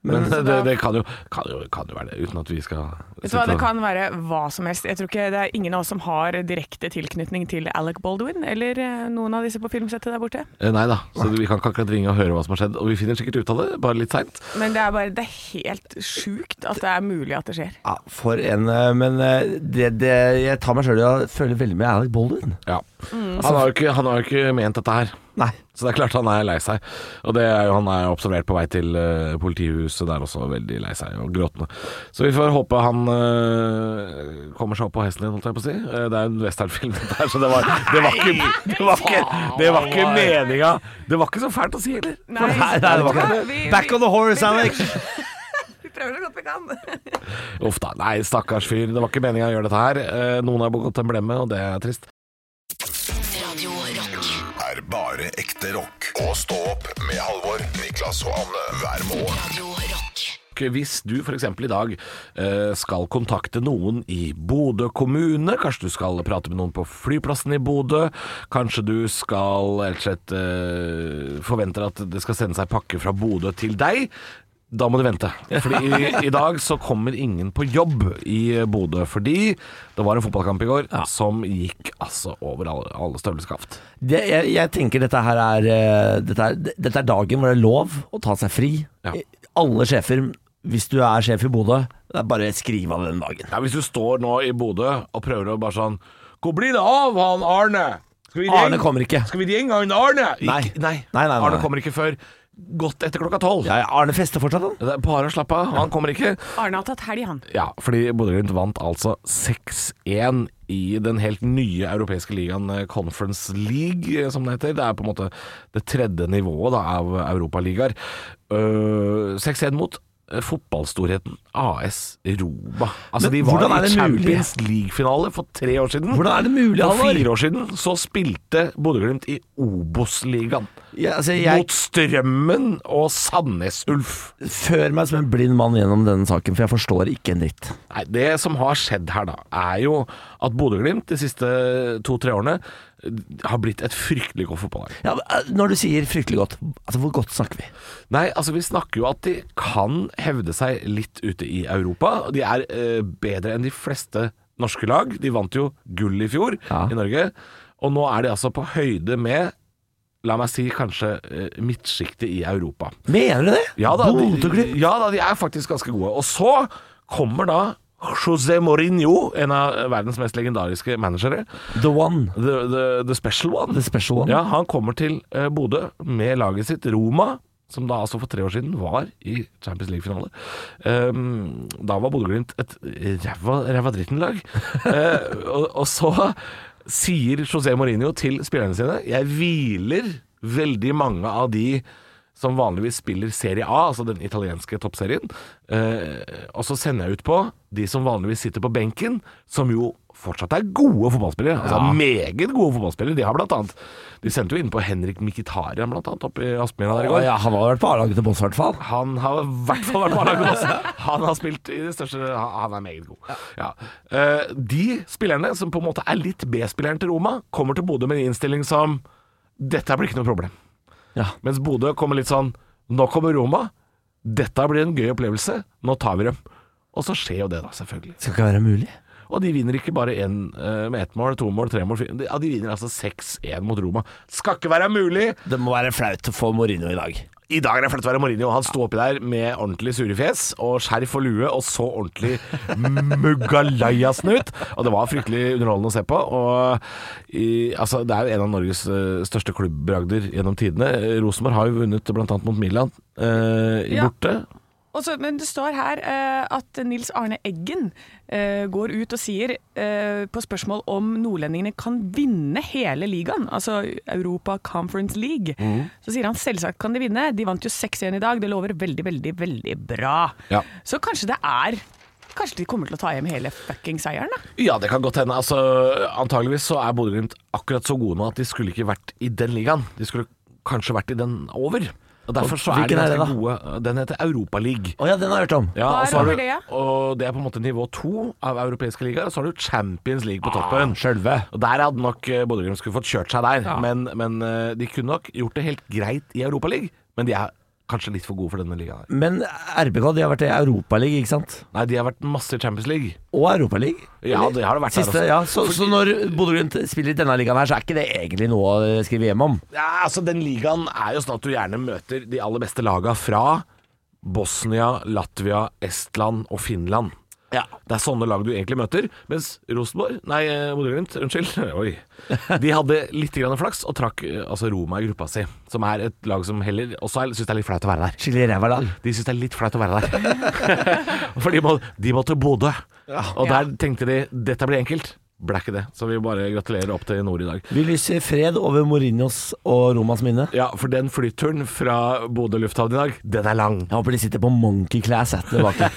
Speaker 5: men det, det kan, jo, kan, jo, kan jo være det, uten at vi skal
Speaker 4: Vet du hva,
Speaker 5: sitte
Speaker 4: Det
Speaker 5: og-
Speaker 4: kan være hva som helst. Jeg tror ikke Det er ingen av oss som har direkte tilknytning til Alec Baldwin, eller eh, noen av disse på filmsettet der borte.
Speaker 5: Eh, Nei da, så vi kan ikke akkurat ringe og høre hva som har skjedd. Og vi finner sikkert ut av det, bare litt seint.
Speaker 4: Men det er bare Det er helt sjukt at det er mulig at det skjer.
Speaker 3: Ja, for en eh, Men eh, det, det, jeg tar meg sjøl i å føle veldig med Alec Baldwin.
Speaker 5: Ja.
Speaker 4: Mm.
Speaker 5: Han, har jo ikke, han har jo ikke ment dette her.
Speaker 3: Nei.
Speaker 5: Så det er klart han er lei seg. Og det er jo, han er jo observert på vei til eh, politihuset der også, veldig lei seg og gråtende. Så vi får håpe han eh, kommer seg opp på hesten igjen, holdt jeg på å si. Eh, det er en westernfilm der, så det var, det var ikke, det var ikke, det var ikke meninga. Det var ikke så fælt å si heller.
Speaker 4: Nei,
Speaker 3: Nei, nei, det var ikke
Speaker 4: Vi,
Speaker 3: det. Back on the horse, Alec!
Speaker 4: vi prøver så godt vi kan.
Speaker 5: Uff da. Nei, stakkars fyr. Det var ikke meninga å gjøre dette her. Eh, noen har begått en blemme, og det er trist.
Speaker 1: Radio Rock.
Speaker 2: er bare ekte rock. Og stå opp med Halvor, Niklas og Anne hver morgen.
Speaker 1: Radio Rock.
Speaker 5: Hvis du f.eks. i dag eh, skal kontakte noen i Bodø kommune, kanskje du skal prate med noen på flyplassen i Bodø, kanskje du skal rett og slett eh, forventer at det skal sendes ei pakke fra Bodø til deg. Da må du vente. Fordi i, i dag så kommer ingen på jobb i Bodø. Fordi det var en fotballkamp i går som gikk altså over alle, alle støvleskaft.
Speaker 3: det, jeg, jeg tenker dette her er, eh, dette er Dette er dagen hvor det er lov å ta seg fri.
Speaker 5: Ja.
Speaker 3: I- Alle sjefer, hvis du er sjef i Bodø, det er bare skriv av den dagen.
Speaker 5: Ja, hvis du står nå i Bodø og prøver å bare sånn Hvor blir det av han Arne? Skal vi
Speaker 3: Arne
Speaker 5: ringe-
Speaker 3: kommer ikke.
Speaker 5: Skal vi ringe han Arne?
Speaker 3: Nei.
Speaker 5: Ikke- nei.
Speaker 3: Nei, nei, nei,
Speaker 5: Arne
Speaker 3: nei.
Speaker 5: kommer ikke før godt etter klokka tolv.
Speaker 3: Ja, ja, Arne fester fortsatt, han.
Speaker 5: Det er bare å slappe av, han kommer ikke.
Speaker 4: Arne har tatt helg, han.
Speaker 5: Ja, fordi Bodø-Glimt vant altså 6-1 i den helt nye europeiske ligaen eh, Conference League, eh, som det heter. Det er på en måte det tredje nivået da, av europaligaer. Øh, 6-1 mot eh, fotballstorheten AS Roma. Altså,
Speaker 3: Men
Speaker 5: de var
Speaker 3: hvordan er
Speaker 5: i
Speaker 3: det mulig?
Speaker 5: Champions League-finale for tre år siden.
Speaker 3: Hvordan er det mulig,
Speaker 5: For
Speaker 3: Halvor?
Speaker 5: fire år siden så spilte Bodø-Glimt i Obos-ligaen.
Speaker 3: Ja, altså, jeg
Speaker 5: Mot Strømmen og Sandnes Ulf.
Speaker 3: fører meg som en blind mann gjennom denne saken, for jeg forstår ikke en dritt.
Speaker 5: Nei, Det som har skjedd her, da, er jo at Bodø-Glimt de siste to-tre årene eh, har blitt et fryktelig godt fotballag.
Speaker 3: Ja, men, eh, når du sier fryktelig godt, altså hvor godt snakker vi?
Speaker 5: Nei, altså vi snakker jo at de kan hevde seg litt ute i Europa. De er eh, bedre enn de fleste norske lag. De vant jo gull i fjor
Speaker 3: Ja.
Speaker 5: i Norge. Og nå er de altså på høyde med, la meg si kanskje eh, midtsjiktet i Europa.
Speaker 3: Mener du det?
Speaker 5: Ja da, de,
Speaker 3: Bodø-Glimt?
Speaker 5: ja da, de er faktisk ganske gode. Og så kommer da José Mourinho, en av verdens mest legendariske managere.
Speaker 3: The one.
Speaker 5: The, the, the special one.
Speaker 3: The special one.
Speaker 5: Ja, han kommer til eh, Bodø med laget sitt Roma, som da altså for tre år siden var i Champions League-finale. Ehm, da var Bodø-Glimt et ræva, ræva dritten-lag. Eh, og, og så sier José Mourinho til spillerne sine Jeg hviler veldig mange av de som vanligvis spiller Serie A, altså den italienske toppserien. Eh, og så sender jeg ut på de som vanligvis sitter på benken, som jo fortsatt er gode fotballspillere. Altså Meget gode fotballspillere. De har blant annet De sendte jo inn på Henrik Mkhitaryan, blant annet, oppe i Aspmyra der i
Speaker 3: Å,
Speaker 5: går.
Speaker 3: ja, han har vært på A-laget til Boss, i hvert fall.
Speaker 5: Han har i hvert fall vært på A-laget også. Han har spilt i det største han- Han er meget god. Ja. Eh, de spillerne som på en måte er litt B-spilleren til Roma, kommer til Bodø med en innstilling som Dette blir ikke noe problem.
Speaker 3: Ja.
Speaker 5: Mens Bodø kommer litt sånn Nå kommer Roma. Dette blir en gøy opplevelse. Nå tar vi dem. Og så skjer jo det, da, selvfølgelig.
Speaker 3: Skal ikke være mulig.
Speaker 5: Og de vinner ikke bare en, eh, med ett mål, to mål, tre mål, fire de, ja, de vinner altså 6-1 mot Roma. Skal ikke være mulig!
Speaker 3: Det må være flaut å få Mourinho i dag.
Speaker 5: I dag er det flaut å være Mourinho. Han sto oppi der med ordentlig surefjes og skjerf og lue og så ordentlig mugalayasnut. Og det var fryktelig underholdende å se på. Og i, altså, det er jo en av Norges eh, største klubbbragder gjennom tidene. Eh, Rosenborg har jo vunnet bl.a. mot Milan eh, i
Speaker 4: Ja.
Speaker 5: borte.
Speaker 4: Og så- men det står her eh, at Nils Arne Eggen eh, går ut og sier eh, på spørsmål om nordlendingene kan vinne hele ligaen, altså Europa Conference League, så sier han selvsagt kan de vinne. De vant jo 6-1 i dag, det lover veldig, veldig, veldig bra.
Speaker 5: Ja.
Speaker 4: Så kanskje det er Kanskje de kommer til å ta hjem hele fucking seieren, da.
Speaker 5: Ja, det kan godt hende. Altså, antageligvis så er Bodø-Glimt akkurat så gode nå at de skulle ikke vært i den ligaen. De skulle kanskje vært i den over. Og Derfor så er de
Speaker 3: Hvilken er det da?
Speaker 5: ganske gode. Den heter Europaligaen.
Speaker 3: Å ja, den har jeg hørt om.
Speaker 5: Ja,
Speaker 4: Hva
Speaker 5: og
Speaker 4: er
Speaker 5: så har du-
Speaker 4: over det, ja?
Speaker 5: Og det er på en måte nivå to av europeiske ligaer. Og så har du Champions League på toppen.
Speaker 4: Ah,
Speaker 3: Sjølve.
Speaker 5: Og Der hadde nok eh, Bodø-Glimt skulle fått kjørt seg der. Men, men eh, de kunne nok gjort det helt greit i Europaligaen. Men de er kanskje litt for gode for denne ligaen her.
Speaker 3: Men RBK de har vært i Europaligaen, ikke sant?
Speaker 5: Nei, de har vært masse i Champions League.
Speaker 3: Og Europaligaen.
Speaker 5: Ja, det har det vært der
Speaker 3: Siste,
Speaker 5: også.
Speaker 3: ja. Så, så når Bodø-Glimt spiller i denne ligaen her, så er ikke det egentlig noe å skrive hjem om.
Speaker 5: Ja, altså Den ligaen er jo sånn at du gjerne møter de aller beste laga fra Bosnia, Latvia, Estland og Finland.
Speaker 3: Ja.
Speaker 5: Det er sånne lag du egentlig møter. Mens Rosenborg Nei, eh, Bodø-Glimt, unnskyld. Oi. De hadde litt grann flaks og trakk eh, altså Roma i gruppa si, som er et lag som heller også syns det er litt flaut å være der.
Speaker 3: Skikkelig ræva lag.
Speaker 5: De syns det er litt flaut å være der. For de må, de må til Bodø. Og der tenkte de dette blir enkelt. Ble ikke det. Så vi bare gratulerer opp til nord i dag.
Speaker 3: Vi lyser fred over Mourinhos og Romas minne.
Speaker 5: Ja, for den flyturen fra Bodø lufthavn i dag, den er lang.
Speaker 3: Jeg håper de sitter på monkey class etter tilbake.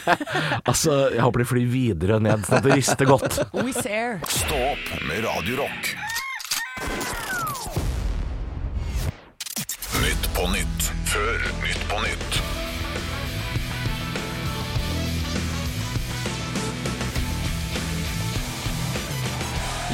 Speaker 5: Altså, jeg håper de flyr videre ned, sånn at det rister godt.
Speaker 4: Wizz Air.
Speaker 2: Stå opp med Radio Rock. Nytt på nytt før Nytt på nytt.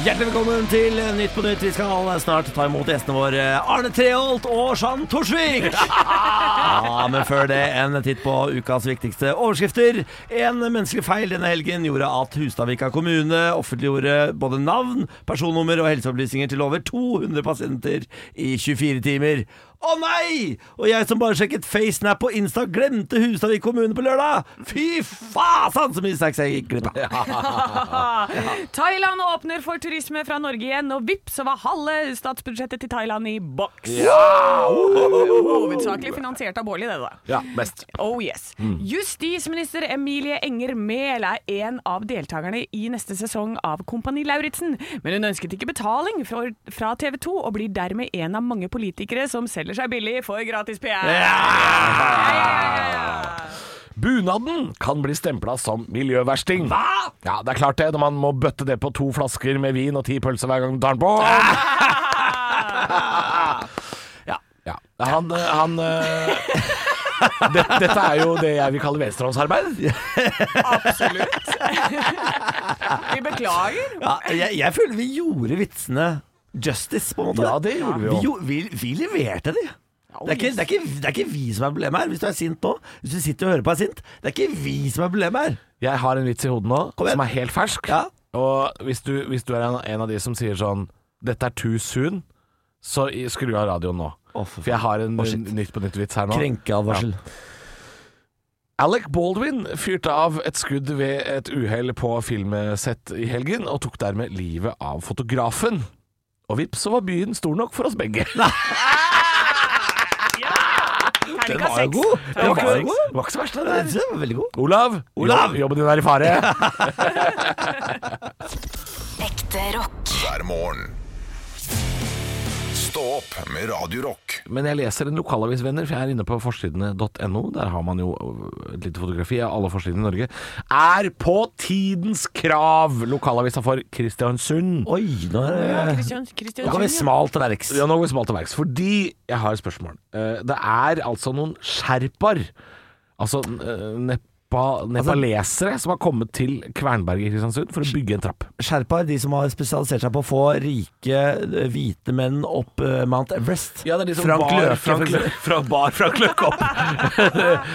Speaker 3: Hjertelig velkommen til Nytt på Nytt. Vi skal snart ta imot gjestene våre Arne Treholt og Jean Torsvik. Ja, men før det en titt på ukas viktigste overskrifter. En menneskelig feil denne helgen gjorde at Hustadvika kommune offentliggjorde både navn, personnummer og helseopplysninger til over 200 pasienter i 24 timer. Å nei! Og jeg som bare sjekket FaceNap på Insta, glemte Hustadvik kommune på lørdag. Fy fasan, så mye snacks jeg gikk glipp av.
Speaker 4: Thailand åpner for turisme fra Norge igjen, og vips, så var halve statsbudsjettet til Thailand i boks. Hovedsakelig finansiert av Bårli, det da.
Speaker 5: Ja, best.
Speaker 4: Oh yes.
Speaker 5: Mm.
Speaker 4: Justisminister Emilie Enger Mehl er en av deltakerne i neste sesong av Kompani Lauritzen, men hun ønsket ikke betaling fra, fra TV 2 og blir dermed en av mange politikere som selger seg billig for gratis PR. Ja, ja, ja, ja.
Speaker 5: Bunaden kan bli stempla som miljøversting. Hva? Ja, det er klart det, når man må bøtte det på to flasker med vin og ti pølser hver gang du tar den på.
Speaker 3: Ja.
Speaker 5: Ja. Han, eh, han eh, det, Dette er jo det jeg vil kalle velstandsarbeid.
Speaker 4: Absolutt. Vi beklager.
Speaker 3: Ja, jeg, jeg føler vi gjorde vitsene justice, på en måte.
Speaker 5: Ja, det gjorde vi jo.
Speaker 3: Vi, jo- vi, vi leverte de. Det er, ikke, det, er ikke, det er ikke vi som er problemet her, hvis du er sint nå. Hvis du sitter og hører på og er sint, det er ikke vi som er problemet her.
Speaker 5: Jeg har en vits i hodet nå
Speaker 3: Kom igjen.
Speaker 5: som er helt fersk.
Speaker 3: Ja.
Speaker 5: Og hvis du, hvis du er en, en av de som sier sånn 'Dette er too soon', så i- skru av radioen nå.
Speaker 3: Å, for
Speaker 5: For jeg har en
Speaker 3: Å, shit.
Speaker 5: Nytt på nytt-vits her nå.
Speaker 3: Krenkeadvarsel.
Speaker 5: Alec Baldwin fyrte av et skudd ved et uhell på filmsett i helgen, og tok dermed livet av fotografen. Og vips, så var byen stor nok for oss begge.
Speaker 4: Terningkast
Speaker 5: jo
Speaker 4: seks.
Speaker 5: god. Den
Speaker 3: var
Speaker 5: var,
Speaker 3: ikke-
Speaker 5: god. Det var ikke så verst, det
Speaker 3: Ja.
Speaker 5: der.
Speaker 3: Det var veldig god.
Speaker 5: Olav,
Speaker 3: Olav!
Speaker 5: jo- jobben din er i fare.
Speaker 1: Ekte rock.
Speaker 2: hver morgen. Stå opp med Radio Rock.
Speaker 5: Men jeg leser en lokalavis, venner, for jeg er inne på forsidene.no. Der har man jo øh, et lite fotografi av alle forsidene i Norge. Er på tidens krav! Lokalavisa for Kristiansund.
Speaker 3: Oi, nå er det
Speaker 4: Kristian- Kristian-
Speaker 3: Nå går vi smalt til verks.
Speaker 5: Ja, nå går vi smalt til verks, fordi jeg har et spørsmål. Eh, Det er altså noen sherpaer, altså eh, nepa, nepalesere, som har kommet til Kvernberg i Kristiansund for å bygge en trapp.
Speaker 3: Sherpaer, de som har spesialisert seg på å få rike eh, hvite menn opp eh, Mount Everest. Frank Løke, for eksempel.
Speaker 5: bar Frank Løke opp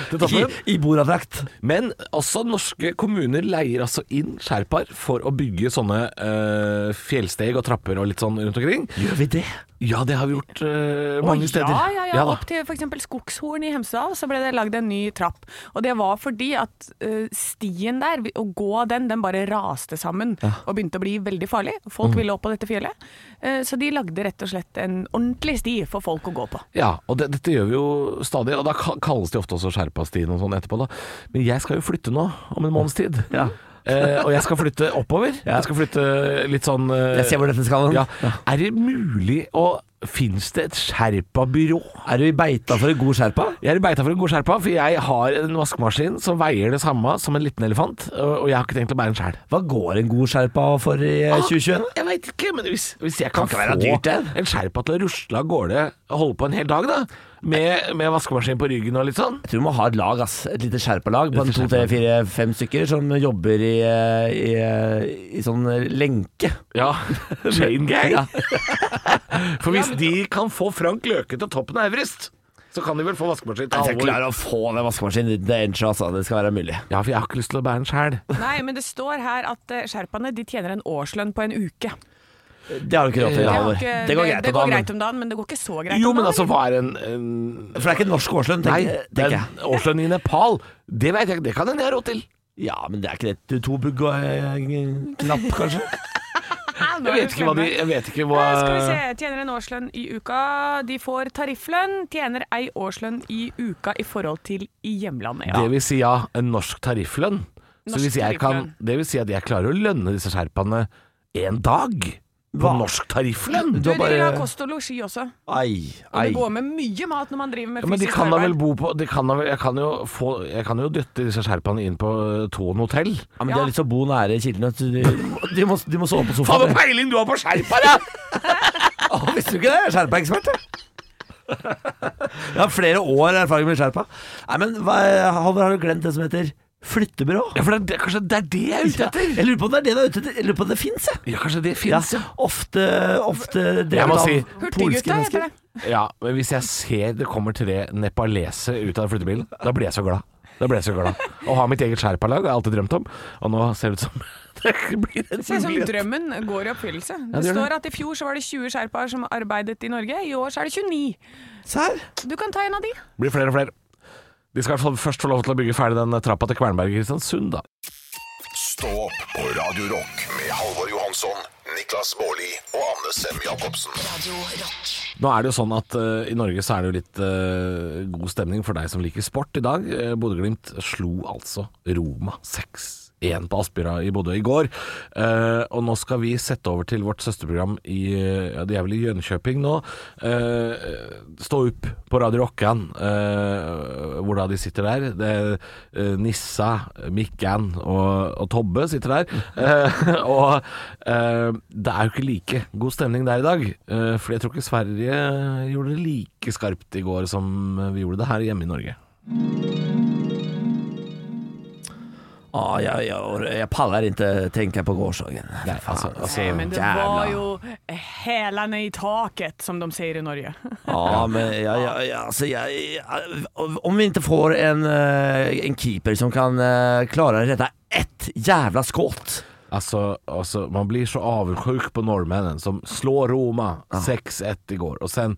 Speaker 5: til toppen.
Speaker 3: I, i bordattrakt.
Speaker 5: Men også norske kommuner leier altså inn sherpaer for å bygge sånne eh, fjellsteg og trapper og litt sånn rundt omkring.
Speaker 3: Gjør vi det?
Speaker 5: Ja, det har vi gjort eh,
Speaker 4: Å,
Speaker 5: mange steder.
Speaker 4: Ja, ja, ja.
Speaker 5: da.
Speaker 4: Opp til f.eks. Skogshorn i Hemsedal så ble det lagd en ny trapp. Og det var fordi at eh, stien der, å gå den, den bare raste sammen og begynte å bli veldig farlig.
Speaker 5: Mm.
Speaker 4: Folk ville opp på dette fjellet. Eh, så de lagde rett og slett en ordentlig sti for folk å gå på.
Speaker 5: Ja, og det, dette gjør vi jo stadig, og da ka- kalles de ofte også Sherpastien og sånn etterpå. da Men jeg skal jo flytte nå, om en måneds tid. Eh, og jeg skal flytte oppover. Jeg skal flytte litt sånn eh,
Speaker 3: Jeg ser hvor dette skal hen.
Speaker 5: ja. Er det mulig å Fins det et Sherpa-byrå?
Speaker 3: Er du i beita for en god sherpa?
Speaker 5: Jeg er i beita for en god sherpa, for jeg har en vaskemaskin som veier det samme som en liten elefant, og og jeg har ikke tenkt å bære den sjæl.
Speaker 3: Hva går en god sherpa for i eh, 2021?
Speaker 5: Jeg veit ikke, men hvis, hvis jeg kan,
Speaker 3: Kan ikke være
Speaker 5: få
Speaker 3: dyrt, det.
Speaker 5: en sherpa til å rusle av gårde og holde på en hel dag, da, med, med vaskemaskin på ryggen og litt sånn
Speaker 3: Jeg tror du må ha et lag, ass. Et lite sherpalag på en
Speaker 5: Lite
Speaker 3: to, tre,
Speaker 5: sherpalag.
Speaker 3: fire, fem stykker som jobber i, eh, i, eh, i sånn lenke.
Speaker 5: Ja, chain gang.
Speaker 3: Ja.
Speaker 5: For hvis de kan få Frank Løke til toppen av Everest, så kan de vel få vaskemaskin til
Speaker 3: Jeg skal
Speaker 5: Halvor.
Speaker 3: klare å få den vaskemaskinen dit det ender, altså. Det skal være mulig.
Speaker 5: Ja, for jeg har ikke lyst til å bære den sjæl.
Speaker 4: Nei, men det står her at uh, sherpaene de tjener en årslønn på en uke.
Speaker 3: Det har du ikke råd til,
Speaker 5: Ja,
Speaker 4: har
Speaker 3: Halvor.
Speaker 4: ikke-
Speaker 3: Det går greit å
Speaker 4: det går
Speaker 3: ta den.
Speaker 4: greit om dagen, men det går ikke så greit
Speaker 5: Jo,
Speaker 4: om
Speaker 5: men
Speaker 4: dagen.
Speaker 5: altså, hva er en, en
Speaker 3: For det er ikke en norsk årslønn,
Speaker 5: Nei,
Speaker 3: tenker,
Speaker 5: det
Speaker 3: tenker
Speaker 5: er
Speaker 3: jeg.
Speaker 5: en årslønn i Nepal. Det vet jeg, det kan hende jeg har råd til.
Speaker 3: Ja, men det er ikke det. Du, to bugg og eh, knapp, kanskje?
Speaker 4: Hæ, nå er
Speaker 5: Jeg vet
Speaker 4: du
Speaker 5: ikke hva de
Speaker 4: slemme.
Speaker 5: Jeg vet ikke hva
Speaker 4: Eh, Skal vi se, tjener en årslønn i uka. De får tarifflønn, tjener ei årslønn i uka i forhold til i hjemlandet. Ja.
Speaker 5: Det vil si ja, en norsk tarifflønn. Så
Speaker 4: Norsk
Speaker 5: hvis jeg kan
Speaker 4: tarifflønn.
Speaker 5: Det vil si at jeg klarer å lønne disse sherpaene en dag. På
Speaker 3: Hva?
Speaker 5: norsk tarifflønn.
Speaker 4: Du,
Speaker 3: Du har
Speaker 4: de vil ha
Speaker 3: bare-
Speaker 4: kost og losji også.
Speaker 3: Ai,
Speaker 4: Og
Speaker 3: ai.
Speaker 4: det går med mye mat når man driver med
Speaker 5: Ja, men de
Speaker 4: fysisk
Speaker 5: kan da vel
Speaker 4: arbeid.
Speaker 5: bo på de kan da vel, jeg, kan jo få, jeg kan jo dytte disse sherpaene inn på eh, Thon hotell.
Speaker 3: Ja, men De har lyst til å bo nære kilden. vet du. De, de, må, de må sove på
Speaker 5: Faen,
Speaker 3: sofaen.
Speaker 5: så peiling du har på sherpaer, da!
Speaker 3: Å, visste du ikke det? Jeg er sherpaekspert. jeg. Jeg har flere år erfaring med sherpa. Nei, men hva, Halvor, har du glemt det som heter flyttebyrå?
Speaker 5: Ja, for det, er det, kanskje det er det jeg er ute
Speaker 3: Ja,
Speaker 5: etter?
Speaker 3: Jeg lurer på om det er det du er ute etter. Jeg lurer på om det fins, jeg.
Speaker 5: Ja, kanskje det
Speaker 3: Ja,
Speaker 5: fins, ja.
Speaker 3: ofte ofte drevet
Speaker 5: Jeg må
Speaker 3: av
Speaker 5: si-
Speaker 3: polske
Speaker 4: Hurtiggutta heter
Speaker 3: mennesker.
Speaker 4: det.
Speaker 5: ja. Men hvis jeg ser det kommer tre nepalesere ut av flyttebilen, da blir jeg så glad. Da blir jeg så glad. Å ha mitt eget sherpalag har jeg alltid drømt om, og nå ser det ut som det blir en
Speaker 4: Det ser ut som
Speaker 5: mulighet.
Speaker 4: drømmen går i oppfyllelse.
Speaker 5: Ja,
Speaker 4: Det
Speaker 5: det gjør
Speaker 4: står at i fjor så var det 20 sherpaer som arbeidet i Norge, i år så er det 29.
Speaker 3: Se her.
Speaker 4: Du kan ta en av de.
Speaker 5: Det blir flere og flere. De skal i hvert fall først få lov til å bygge ferdig den trappa til Kvernberg i Kristiansund, da.
Speaker 2: Stå opp på Radio Rock med Halvor Johansson, Niklas Baarli og Anne Sem Jacobsen.
Speaker 1: Radio Rock.
Speaker 5: Nå er det jo sånn at eh, i Norge så er det jo litt eh, god stemning for deg som liker sport i dag. Uh, Bodø-Glimt slo altså Roma 6-1. 1 på Aspira i Bodø i går. Eh, og nå skal vi sette over til vårt søsterprogram i eh, ja, De er vel i Jönköping nå. Eh, stå opp på Radio Rockan, eh, hvor da de sitter der. Det, eh, Nissa, Mikkan og, og Tobbe sitter der. Eh, og eh, det er jo ikke like god stemning der i dag. Eh, for jeg tror ikke Sverige gjorde det like skarpt i går som vi gjorde det her hjemme i Norge.
Speaker 3: Ah, jeg, jeg, jeg paller ikke tenke på gårsdagen. Nei, altså,
Speaker 4: Nei, men det var jo hælene i taket, som de sier i Norge.
Speaker 3: Ja, men ja, ja, ja, altså, jeg, jeg, om vi ikke får en, eh, en keeper som kan eh, klare å redde ett jævla skudd
Speaker 5: Altså, altså, man blir så avundsjuk på nordmännen som slår Roma 6-1 igår och sen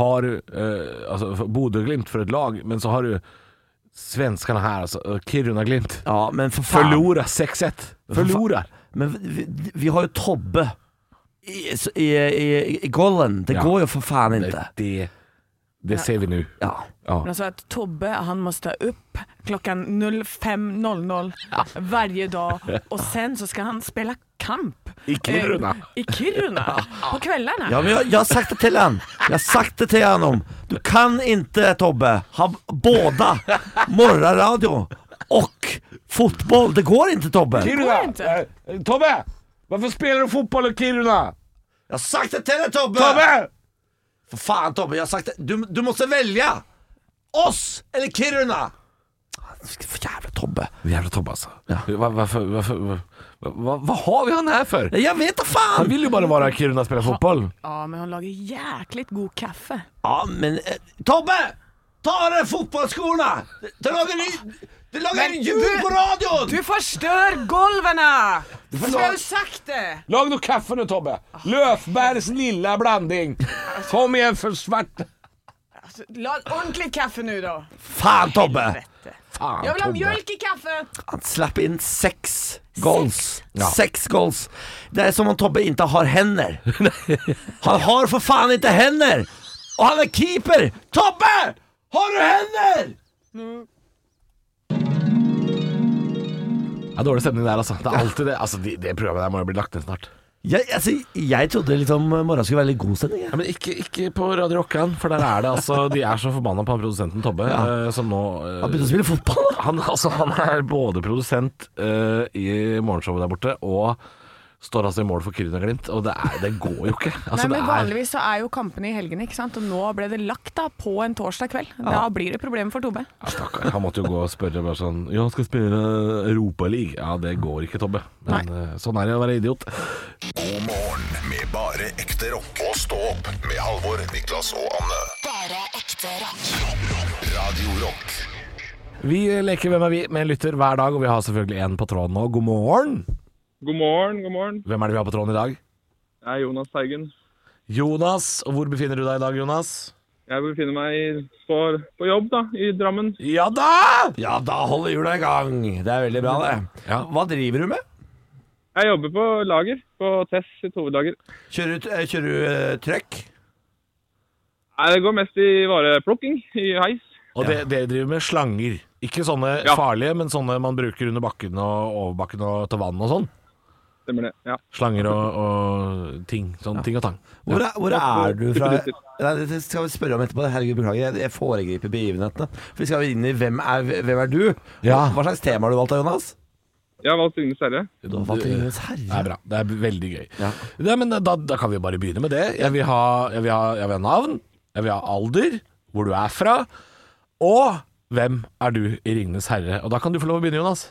Speaker 5: har du, eh, alltså Bodø-Glimt för ett lag, men så har du svenskarna här, alltså eh, Kiruna-Glimt.
Speaker 3: Ja, men for faen.
Speaker 5: Förlora 6-1! Förlorar!
Speaker 3: Men vi, vi, vi har jo Tobbe i, i, i, i gollen. Det
Speaker 5: Ja.
Speaker 3: går jo for faen ikke.
Speaker 5: Det, det, det ser vi nu.
Speaker 3: Ja.
Speaker 5: Ja.
Speaker 4: Men sa att Tobbe han måste upp klockan 05.00 varje dag och sen så ska han spela kamp.
Speaker 5: I Kiruna.
Speaker 4: Eh, I Kiruna, på kvällarna.
Speaker 3: ja, men jeg, jeg har sagt det til han. Jeg har sagt det til han om. Du kan ikke, Tobbe, ha båda morgenradio og fotball. Det går ikke, Tobbe. Jeg
Speaker 4: går inte.
Speaker 5: Tobbe! Varför spelar du fotboll i Kiruna?
Speaker 3: har sagt det til deg, Tobbe! For faen, Tobbe, jeg har sagt det. Du, du måste velge! Oss eller Kiruna! For jævla Tobbe.
Speaker 5: Jävla Tobbe alltså.
Speaker 3: Ja.
Speaker 5: Va- Varför, varför, va- va- vad har vi han här för?
Speaker 3: Jeg vet da faen!
Speaker 5: Han vill ju bara vara i Kiruna och spela fotboll.
Speaker 4: Ja, men hon lagar jäkligt god kaffe.
Speaker 3: Ja, men eh, Tobbe! Ta av deg fotballskorene! Det lager, lyd- det lager
Speaker 4: Men
Speaker 3: ljud
Speaker 4: du-
Speaker 3: på radioen!
Speaker 4: Du förstör golven!
Speaker 3: får
Speaker 4: Du har
Speaker 3: lov-
Speaker 4: ju sagt det!
Speaker 5: Lag noe kaffe nå, Tobbe. Løfbergs lilla blanding. Kom igjen, for svart
Speaker 4: Alltså, Altså, la ordentligt kaffe nu då.
Speaker 3: Faen, Tobbe!
Speaker 4: Helvete.
Speaker 5: faen,
Speaker 4: Jag vill ha
Speaker 5: Tobbe.
Speaker 4: mjölk i kaffe!
Speaker 3: Han slapp inn seks goals.
Speaker 5: Ja.
Speaker 3: Seks goals. Det er som om Tobbe ikke har hender. Han har for faen ikke hender! Og han er keeper! Tobbe! Har du hender?!
Speaker 5: Ja, dårlig stemning der, altså. Det er alltid det. Altså, det, det programmet der må jo bli lagt ned snart.
Speaker 3: Jeg, altså, jeg trodde liksom morgenen skulle være litt god sending. jeg.
Speaker 5: Ja, men ikke, ikke på Radio Rockan, for der er det altså De er så forbanna på han produsenten Tobbe, eh, som nå eh,
Speaker 3: Han begynte å spille fotball. da.
Speaker 5: han, altså, han er både produsent eh, i morgenshowet der borte og står altså i mål for Kiruna-Glimt. Og det, er, det går jo ikke. Altså,
Speaker 4: Nei, men
Speaker 5: det er,
Speaker 4: Vanligvis så er jo kampene i helgene, ikke sant? og nå ble det lagt da på en torsdag kveld. Da blir det problem for Tobbe.
Speaker 5: ja, stakkar. Han måtte jo gå og spørre bare sånn Ja, skal spille Europaliga? Ja, det går ikke, Tobbe. Men eh, sånn er det å være idiot.
Speaker 2: God morgen med bare ekte rock. Og stå opp med Halvor, Niklas og Anne.
Speaker 1: Bare ekte rock.
Speaker 2: Radio Rock.
Speaker 5: Vi leker Hvem er vi? med en lytter hver dag, og vi har selvfølgelig en på tråden nå. God morgen!
Speaker 8: God morgen, god morgen.
Speaker 5: Hvem er det vi har på tråden i dag?
Speaker 8: Jeg er Jonas Teigen.
Speaker 5: Jonas. Og hvor befinner du deg i dag, Jonas?
Speaker 8: Jeg befinner meg i- på, på jobb da, i Drammen.
Speaker 5: Ja da!
Speaker 3: Ja, da holder hjula i gang. Det er veldig bra, det.
Speaker 5: Ja.
Speaker 3: Hva driver du med?
Speaker 8: Jeg jobber på lager, på Tess sitt hovedlager.
Speaker 3: Kjører du, eh, kjører du eh, trøkk?
Speaker 8: Nei, Det går mest i vareplukking i heis.
Speaker 5: Og det- dere driver med slanger. Ikke sånne
Speaker 8: Ja.
Speaker 5: farlige, men sånne man bruker under bakken og over bakken og til vann og sånn.
Speaker 8: Stemmer det. Ja.
Speaker 5: Slanger og, og ting. Sånn ting og tang.
Speaker 3: Hvor er, hvor er du fra?
Speaker 8: Definitivt.
Speaker 3: Nei, det skal vi spørre om etterpå. Herregud, beklager. Jeg, jeg foregriper begivenhetene. For vi skal inn i Hvem er, hvem er du?
Speaker 5: Ja.
Speaker 3: Hva slags tema har du valgt da, Jonas?
Speaker 8: Jeg har valgt Ringnes Herre.
Speaker 3: Du har valgt Ringenes
Speaker 5: Det eh, er
Speaker 3: herre.
Speaker 5: bra. Det er veldig gøy.
Speaker 3: Ja.
Speaker 5: Nei, men da, da kan vi bare begynne med det. Jeg vil, ha, jeg, vil ha, jeg vil ha navn, jeg vil ha alder, hvor du er fra, og hvem er du i Ringenes herre? Og da kan du få lov å begynne, Jonas.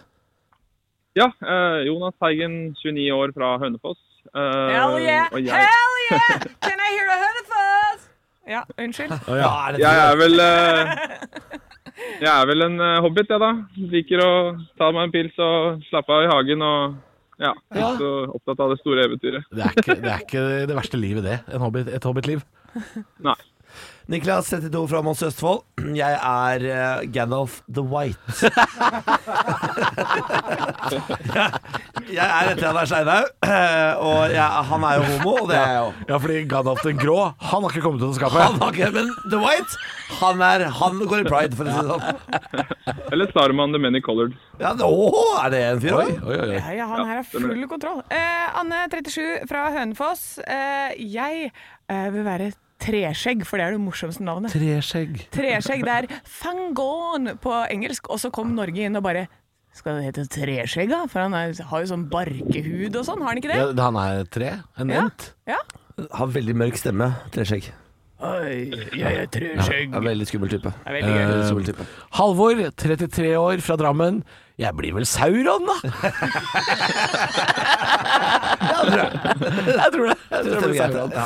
Speaker 8: Ja, eh, Jonas Teigen, 29 år fra Hønefoss. Eh,
Speaker 4: Hell yeah!
Speaker 8: og jeg,
Speaker 4: Hell yeah! Can I hear a Hønefoss? Ja, unnskyld.
Speaker 3: Ja, er det-
Speaker 8: jeg er vel... eh, jeg er vel en eh, hobbit, jeg da. Liker å ta meg en pils og slappe av i hagen og... Ja, ikke så opptatt av det store eventyret.
Speaker 5: Det er ikke det, er ikke det verste livet, det. En hobbit, et hobbitliv.
Speaker 8: Nei.
Speaker 3: Niklas 32 fra Mons Østfold. Jeg er eh, Gandalf the White. jeg, jeg er etter han er Steinhaug, eh, og jeg, han er jo homo, og det er jeg jo.
Speaker 5: Ja, fordi Gandalf den grå, han har ikke kommet ut av
Speaker 3: Han
Speaker 5: skapet.
Speaker 3: har ikke, men The White, han, er, han går i pride, for å si det sånn.
Speaker 8: Eller Starman the Many Colored.
Speaker 3: Ja, det- åh, er det en fyr
Speaker 5: Oi,
Speaker 3: òg?
Speaker 5: oi, oi.
Speaker 4: Ja, ja, han her har full kontroll. Eh, Anne 37 fra Hønefoss. Eh, jeg eh, vil være Treskjegg, for det er det morsomste navnet.
Speaker 5: Treskjegg.
Speaker 4: Treskjegg, det er fangon på engelsk, og så kom Norge inn og bare skal det hete treskjegg, da? For han er, har jo sånn barkehud og sånn, har han ikke det?
Speaker 5: Ja, han er tre? En ent?
Speaker 4: Ja.
Speaker 3: Har veldig mørk stemme. Treskjegg.
Speaker 4: Oi, jeg er treskjegg.
Speaker 3: Er en veldig skummel type. Eh,
Speaker 4: Det er veldig gøy.
Speaker 3: Veldig skummel type.
Speaker 5: Halvor, 33 år, fra Drammen. Jeg blir vel Sauron, da? jeg tror det. Jeg tror jeg blir Sauron.
Speaker 3: Ja.